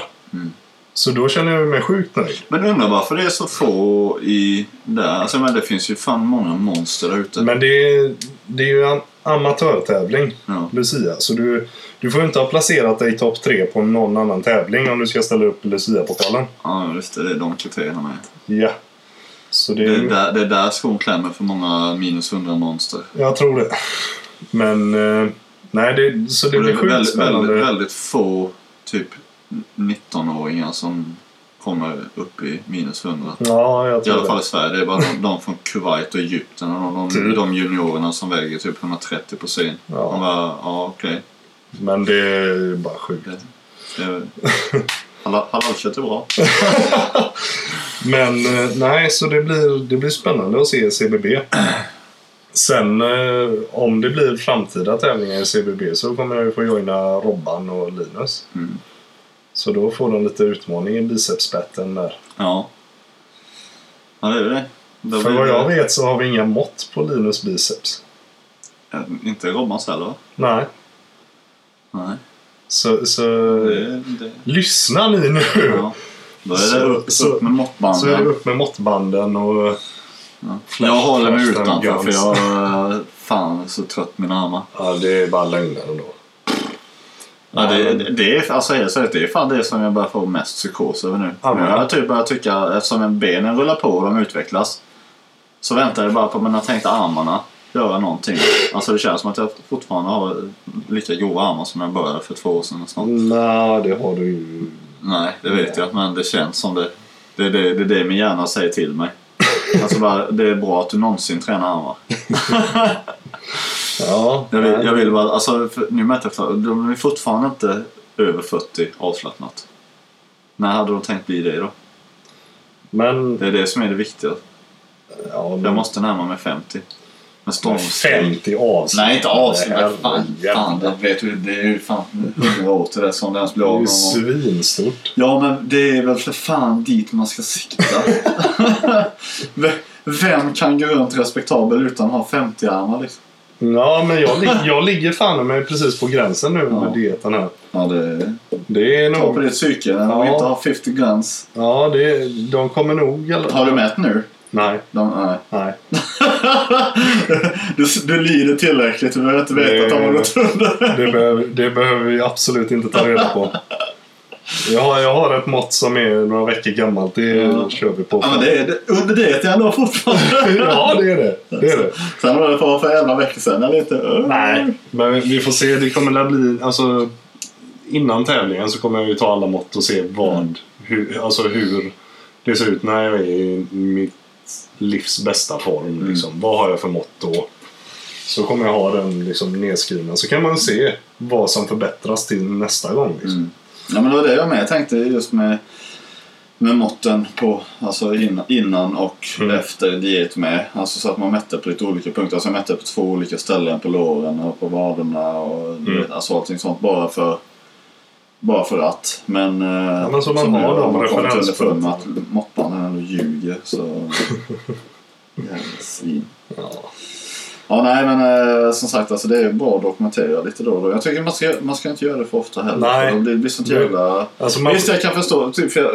S1: Så då känner jag mig sjukt nöjd.
S2: Men undrar varför det är så få i där. Alltså, men det finns ju fan många monster där ute.
S1: Men det är, det är ju en amatörtävling,
S2: Ja.
S1: Lucia. Så du, du får ju inte ha placerat dig i topp tre på någon annan tävling om du ska ställa upp i Lucia-pokalen.
S2: ja, just det. Det är de kriterierna med.
S1: Ja. Så det,
S2: Det är där, det är där skon klämmer för många minus 100 monster.
S1: Jag tror det. Men... Eh, nej, det, så det
S2: Och
S1: blir
S2: det
S1: eh,
S2: är
S1: sjukt
S2: väldigt,
S1: spännande.
S2: väldigt, väldigt få typ 19-åringar som kommer upp i minus 100.
S1: Ja, jag
S2: I
S1: tror
S2: alla
S1: det.
S2: fall i Sverige. Det är bara de, de från Kuwait och Egypten och de, de,
S1: Typ.
S2: de juniorerna som väger typ 130 på sin.
S1: Ja.
S2: Man bara, ja okej.
S1: Men det är bara sjukt.
S2: Okay. Halalkött är bra.
S1: Men eh, nej, så det blir, det blir spännande att se CBB. Sen eh, om det blir framtida tävlingar i CBB så kommer jag ju få joina Robban och Linus.
S2: Mm.
S1: Så då får de lite utmaning i bicepsspetten där.
S2: Ja. Ja, det är det. Då
S1: För
S2: blir
S1: vad
S2: det-
S1: jag vet så har vi inga mått på Linus biceps.
S2: Ja, Eh, Inte Robbans heller va?
S1: Nej.
S2: Nej.
S1: Så, så
S2: Det, det,
S1: lyssna ni nu!
S2: ja. Då är det
S1: Så-
S2: upp,
S1: så-
S2: upp med
S1: Så är det
S2: måttbanden.
S1: upp med måttbanden och...
S2: Ja.
S1: Flash-
S2: Jag håller mig
S1: flash and
S2: utanför för
S1: guns.
S2: jag är fan så trött mina armar.
S1: Ja, det är bara lögner ändå.
S2: Ja, det, det- det, är, alltså, helt seriöst, det är fan det som jag börjar få mest psykos över nu.
S1: Ja, men-
S2: Jag har typ börjat tycka, eftersom en benen rullar på och de utvecklas, så väntar jag bara på mina tänkta armarna göra någonting. Alltså det känns som att jag fortfarande har lika grova armar som jag började för två år sedan snart.
S1: Nej, det har du ju...
S2: Nej, det vet jag, men det känns som det. Det är det, det, är det min hjärna säger till mig. Alltså bara, det är bra att du någonsin tränar armar.
S1: Ja.
S2: Jag vill, jag vill bara, alltså för, nu mäter jag, för- de är fortfarande inte över 40 avslappnat. När hade de tänkt bli det då?
S1: Men...
S2: Det är det som är det viktiga.
S1: Ja,
S2: Jag
S1: men
S2: måste närma mig 50. Men stormsteg.
S1: 50 avsnitt.
S2: Nej, inte avslappnat. Fan,
S1: Herregud.
S2: fan, det vet du, det är ju fan 100 år till det som det ens blir
S1: Det
S2: av
S1: är ju
S2: någon gång.
S1: svinstort.
S2: Ja, men det är väl för fan dit man ska sikta. V- Vem kan gå runt respektabel utan att ha 50-armar liksom?
S1: Ja, men jag, lig- jag ligger fan med precis på gränsen nu med
S2: Ja.
S1: dieten här.
S2: Ja, det...
S1: Det är
S2: Ta på
S1: nog...
S2: ditt psyke. När
S1: Ja.
S2: de inte har 50 guns.
S1: Ja, det, de kommer nog... Eller?
S2: Har du mätt nu?
S1: Nej,
S2: De, nej.
S1: nej.
S2: du, du lider tillräckligt. Du behöver inte veta att de har gått under.
S1: Det behöver, det behöver vi absolut inte ta reda på. Jag har, jag har ett mått som är några veckor gammalt. Det
S2: Ja.
S1: kör vi på.
S2: Ja, men det är det, under det jag ändå fortfarande.
S1: ja, det är det. det, är det.
S2: Sen var det för, för 11 veckor sedan eller inte? Öh.
S1: Nej, men vi får se. Det kommer att bli... Alltså, innan tävlingen så kommer jag ju ta alla mått och se vad... Hur, alltså hur det ser ut när jag är i mitt livs bästa form.
S2: Mm.
S1: Liksom. Vad har jag för mått då? Så kommer jag ha den liksom, nedskriven. Så kan man se vad som förbättras till nästa gång. Liksom.
S2: Mm. Ja, men det var det jag med. Jag tänkte just med, med måtten på, alltså in, innan och
S1: Mm.
S2: efter diet med. Alltså så att man mätte på lite olika punkter. Alltså jag mätte på två olika ställen, på låren och på vaderna och du
S1: Mm.
S2: vet, alltså allting sånt. Bara för, bara för att. Men, eh,
S1: Ja, men så man
S2: som
S1: har
S2: nu
S1: de
S2: man kommit
S1: referenspunkterna.
S2: underfund med att måttbanden ändå ljuger så... Jävla svin.
S1: Ja.
S2: Ja, nej men eh, som sagt alltså det är bra att dokumentera lite då och då. Jag tycker man ska, man ska inte göra det för ofta heller.
S1: Nej.
S2: för Det blir sånt
S1: Det-
S2: jävla...
S1: Alltså, man,
S2: Visst, jag kan förstå. Typ, för jag,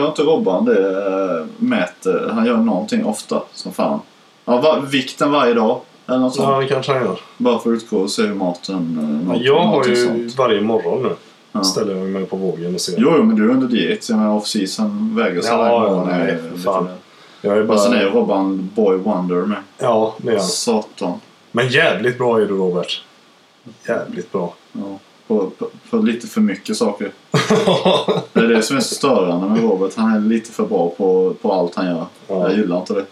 S2: gör inte Robban det eh, mäter, han gör någonting ofta som fan. Ja, va, vikten varje dag eller något sånt.
S1: ja, det kanske han gör.
S2: Bara för att utgå och se hur maten... eh, något-
S1: Jag har
S2: någonting
S1: ju
S2: sånt.
S1: varje morgon nu.
S2: Ja.
S1: Ställer jag mig på vågen och ser.
S2: Jo, jo, men du är under diet. Jag menar off-season väger sig
S1: Ja,
S2: varje
S1: ja,
S2: morgon,
S1: nej,
S2: eh,
S1: för
S2: lite
S1: fan.
S2: mer.
S1: Jag är
S2: Men sen är ju
S1: bara...
S2: Alltså, Robban boy wonder med.
S1: Ja, det är han.
S2: Satan.
S1: Men jävligt bra är du Robert. Jävligt bra.
S2: Ja. På, på, på lite för mycket saker. Det är det som är så störande med Robert. Han är lite för bra på, på allt han gör.
S1: Ja.
S2: Jag gillar inte det.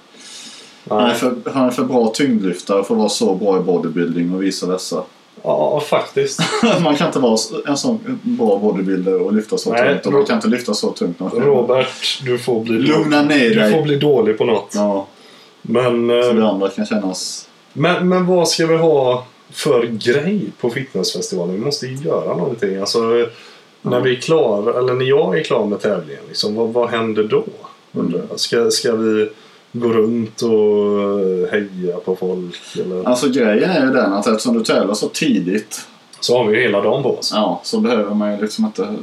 S2: Han är,
S1: Nej.
S2: för, han är för bra tyngdlyftare för att vara så bra i bodybuilding och vice versa.
S1: Ja, faktiskt.
S2: Man kan inte vara en sån bra bodybuilder och lyfta så
S1: Nej,
S2: tungt. Och
S1: Ro-
S2: man kan inte lyfta så tungt. när man ska-
S1: Robert, du får bli,
S2: Lugna ner
S1: du får
S2: dig.
S1: bli dålig på något.
S2: Ja, Alltså,
S1: Men,
S2: så
S1: eh,
S2: det andra kan kännas...
S1: men, men vad ska vi ha för grej på fitnessfestivalen? Vi måste ju göra någonting. Alltså, eh, när vi är klara, eller när jag är klar med tävlingen, liksom, vad, vad händer då? Undrar jag. Ska, ska vi gå runt och eh, heja på folk? Eller?
S2: Alltså grejen är ju den att eftersom du tävlar så tidigt
S1: Så har vi ju hela dagen på oss.
S2: ja, så behöver man ju liksom inte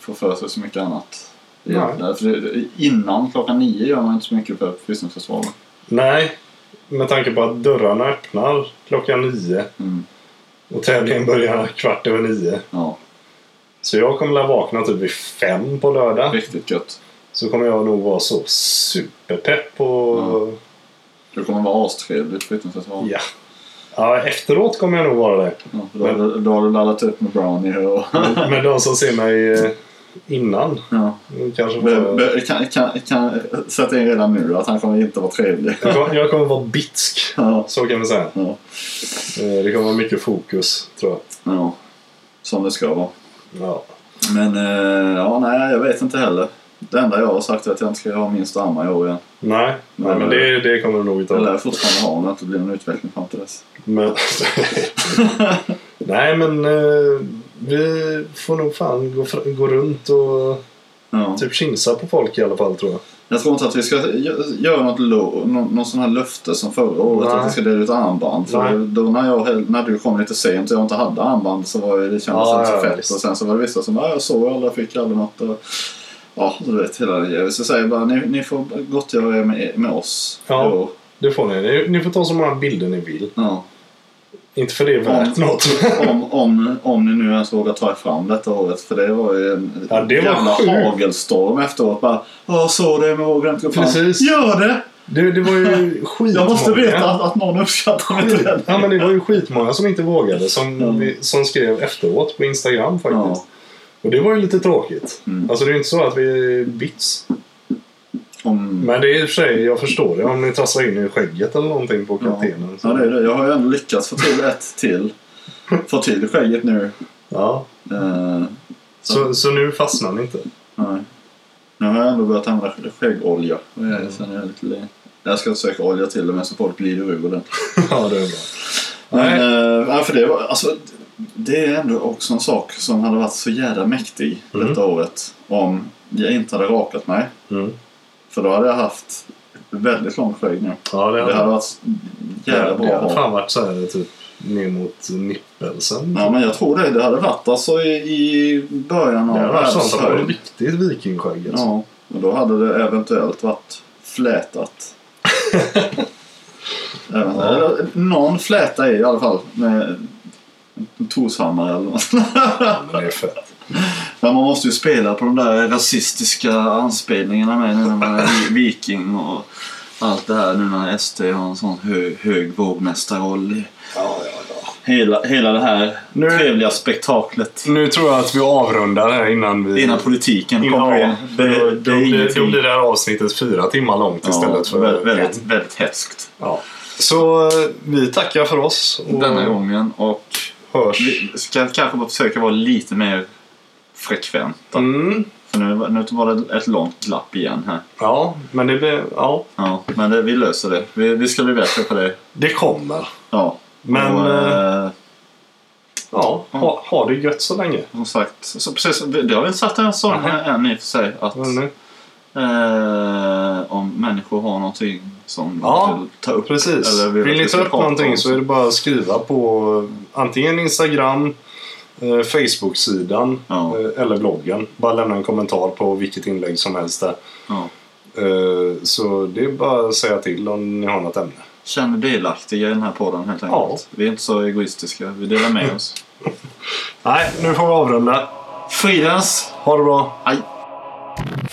S2: få för sig så mycket annat.
S1: Nej.
S2: Därför det- innan klockan nio gör man inte så mycket för kryssningsförsvaret.
S1: Nej, med tanke på att dörrarna öppnar klockan nio
S2: Mm.
S1: och tävlingen börjar kvart över nio.
S2: Ja,
S1: Så jag kommer att vakna typ vid fem på lördag.
S2: riktigt gött.
S1: Så kommer jag nog vara så superpepp på...
S2: Det kommer vara astrevligt kryssningsförsvar.
S1: Ja. ja. Efteråt kommer jag nog vara det.
S2: Ja, för då, har du- då har du laddat upp med brownie och...
S1: Men de som ser mig eh, innan
S2: Ja.
S1: kanske
S2: Be,
S1: får...
S2: be, kan, kan, kan sätta in redan nu att han kommer inte vara trevlig.
S1: Jag kommer- Jag kommer vara bitsk.
S2: Ja.
S1: Så kan vi säga.
S2: Ja.
S1: Eh, Det kommer vara mycket fokus, tror jag.
S2: ja. Som det ska vara.
S1: Ja.
S2: Men eh, ja, nej, jag vet inte heller. Det enda jag har sagt är att jag inte ska ha minst armar i år igen.
S1: Nej, nej,
S2: Men-
S1: men det, det kommer det nog inte
S2: Jag
S1: att
S2: lär fortfarande ha om det inte blir någon utveckling fram till dess.
S1: Men... Nej, men eh, vi får nog fan gå, fr- gå runt och eh,
S2: Ja.
S1: typ tjingsa på folk i alla fall, tror jag.
S2: Jag tror inte att vi ska gö- göra något lo, någon, någon sån här löfte som förra året
S1: Nej.
S2: att vi ska dela ut armband. För
S1: Nej.
S2: då när, jag, hel- när du kom lite sent och jag inte hade armband så var jag, det kändes
S1: Ja,
S2: inte
S1: ja,
S2: så fett.
S1: visst.
S2: Och sen så var det vissa som "Nej, jag såg aldrig, jag fick aldrig något. Och, ja, du vet hela det. grejen. Så jag säger bara ni, ni får gottgöra er med, med oss.
S1: Ja.
S2: i år."
S1: Det får ni. ni. Ni får ta så många bilder ni vill.
S2: Ja.
S1: Inte för det är värt något.
S2: om, om, om ni nu ens vågar ta er fram detta året. För det var ju en
S1: Ja, det var
S2: jävla
S1: sjukt.
S2: hagelstorm efteråt. Bara, "Ja, så det, men vågar inte gå fram.
S1: Precis.
S2: Gör det!
S1: Det, det var ju skitmånga.
S2: Jag måste veta att, att någon uppskattar mig till det.
S1: Ja, men det var ju skitmånga som inte vågade. Som,
S2: Ja.
S1: vi- som skrev efteråt på Instagram faktiskt. Och det var ju lite tråkigt.
S2: Mm.
S1: Alltså det är ju inte så att vi är bits.
S2: Om,
S1: Men det är i och för sig, jag förstår det. Om ni tassar in i skägget eller någonting på
S2: Ja.
S1: kaptenen. så-
S2: ja, det är det. Jag har ju ändå lyckats få till ett till. Få till skägget nu.
S1: Ja.
S2: Eh,
S1: Så, så nu fastnar ni inte?
S2: nej. Nu har jag ändå börjat använda skäggolja. Och
S1: Mm.
S2: jag- Sen är jag lite le- jag ska söka olja till det men så folk glider ur den.
S1: ja, det är bra.
S2: Men,
S1: Nej.
S2: eh, ja, för det, var, alltså, det är ändå också en sak som hade varit så jävla mäktig
S1: Mm.
S2: detta året om jag inte hade rakat mig.
S1: Mm.
S2: För då hade jag haft väldigt långt skägg nu.
S1: Ja, det
S2: Det hade varit jävla
S1: det
S2: bra att
S1: hade
S2: ha.
S1: fan varit så här typ ner mot nippelsen.
S2: Ja, men jag tror det. Det hade varit alltså i, i början av
S1: det hade varit sånt att det var
S2: världshöjd.
S1: riktigt vikingskägg alltså.
S2: Ja, och då hade det eventuellt varit flätat. Även,
S1: Ja.
S2: eller, någon fläta i i alla fall. Med en Torshammar eller något.
S1: Men det är fett.
S2: Men man måste ju spela på de där rasistiska anspelningarna med nu när man är vi- viking och allt det här. Nu när SD har en sån hög, hög vågmästarroll i
S1: Ja, ja, ja.
S2: hela, hela det här
S1: Nu-
S2: trevliga spektaklet.
S1: Nu tror jag att vi avrundar här innan vi...
S2: Innan politiken
S1: Innan-
S2: kommer in.
S1: ja,
S2: Det, det,
S1: då,
S2: är
S1: blir, då
S2: ingenting.
S1: blir det här avsnittet fyra timmar långt istället
S2: Ja,
S1: för
S2: vä- väldigt, väldigt hätskt.
S1: Ja. Så eh, vi tackar för oss och
S2: Denna gången och
S1: hörs.
S2: vi ska kanske bara försöka vara lite mer frekventa.
S1: Mm.
S2: För nu, nu var det ett långt glapp igen här.
S1: Ja, men det blir... Ja,
S2: Ja, men det, vi löser det. Vi, vi ska bli bättre på det.
S1: det kommer.
S2: Ja.
S1: Men
S2: och,
S1: eh,
S2: eh,
S1: ja, ha, ha det gött så länge.
S2: som sagt, så precis, det har vi inte sagt en sån
S1: Nej.
S2: här än i och för sig. Att,
S1: Vad är det nu?
S2: eh, om människor har någonting som
S1: Ja,
S2: de vill ta upp.
S1: Precis.
S2: eller
S1: Vill,
S2: att
S1: ni
S2: vi
S1: ta
S2: ska
S1: upp
S2: prata om
S1: någonting så är det bara att skriva på eh, antingen Instagram, eh, Facebook-sidan
S2: Ja.
S1: eh, eller bloggen. Bara lämna en kommentar på vilket inlägg som helst där.
S2: Ja.
S1: Eh, Så det är bara att säga till om ni har något ämne.
S2: Känner delaktiga i den här podden helt
S1: Ja.
S2: enkelt. Vi är inte så egoistiska. Vi delar med oss.
S1: Nej, nu får vi avrunda.
S2: Fridens!
S1: Ha det bra.
S2: Aj.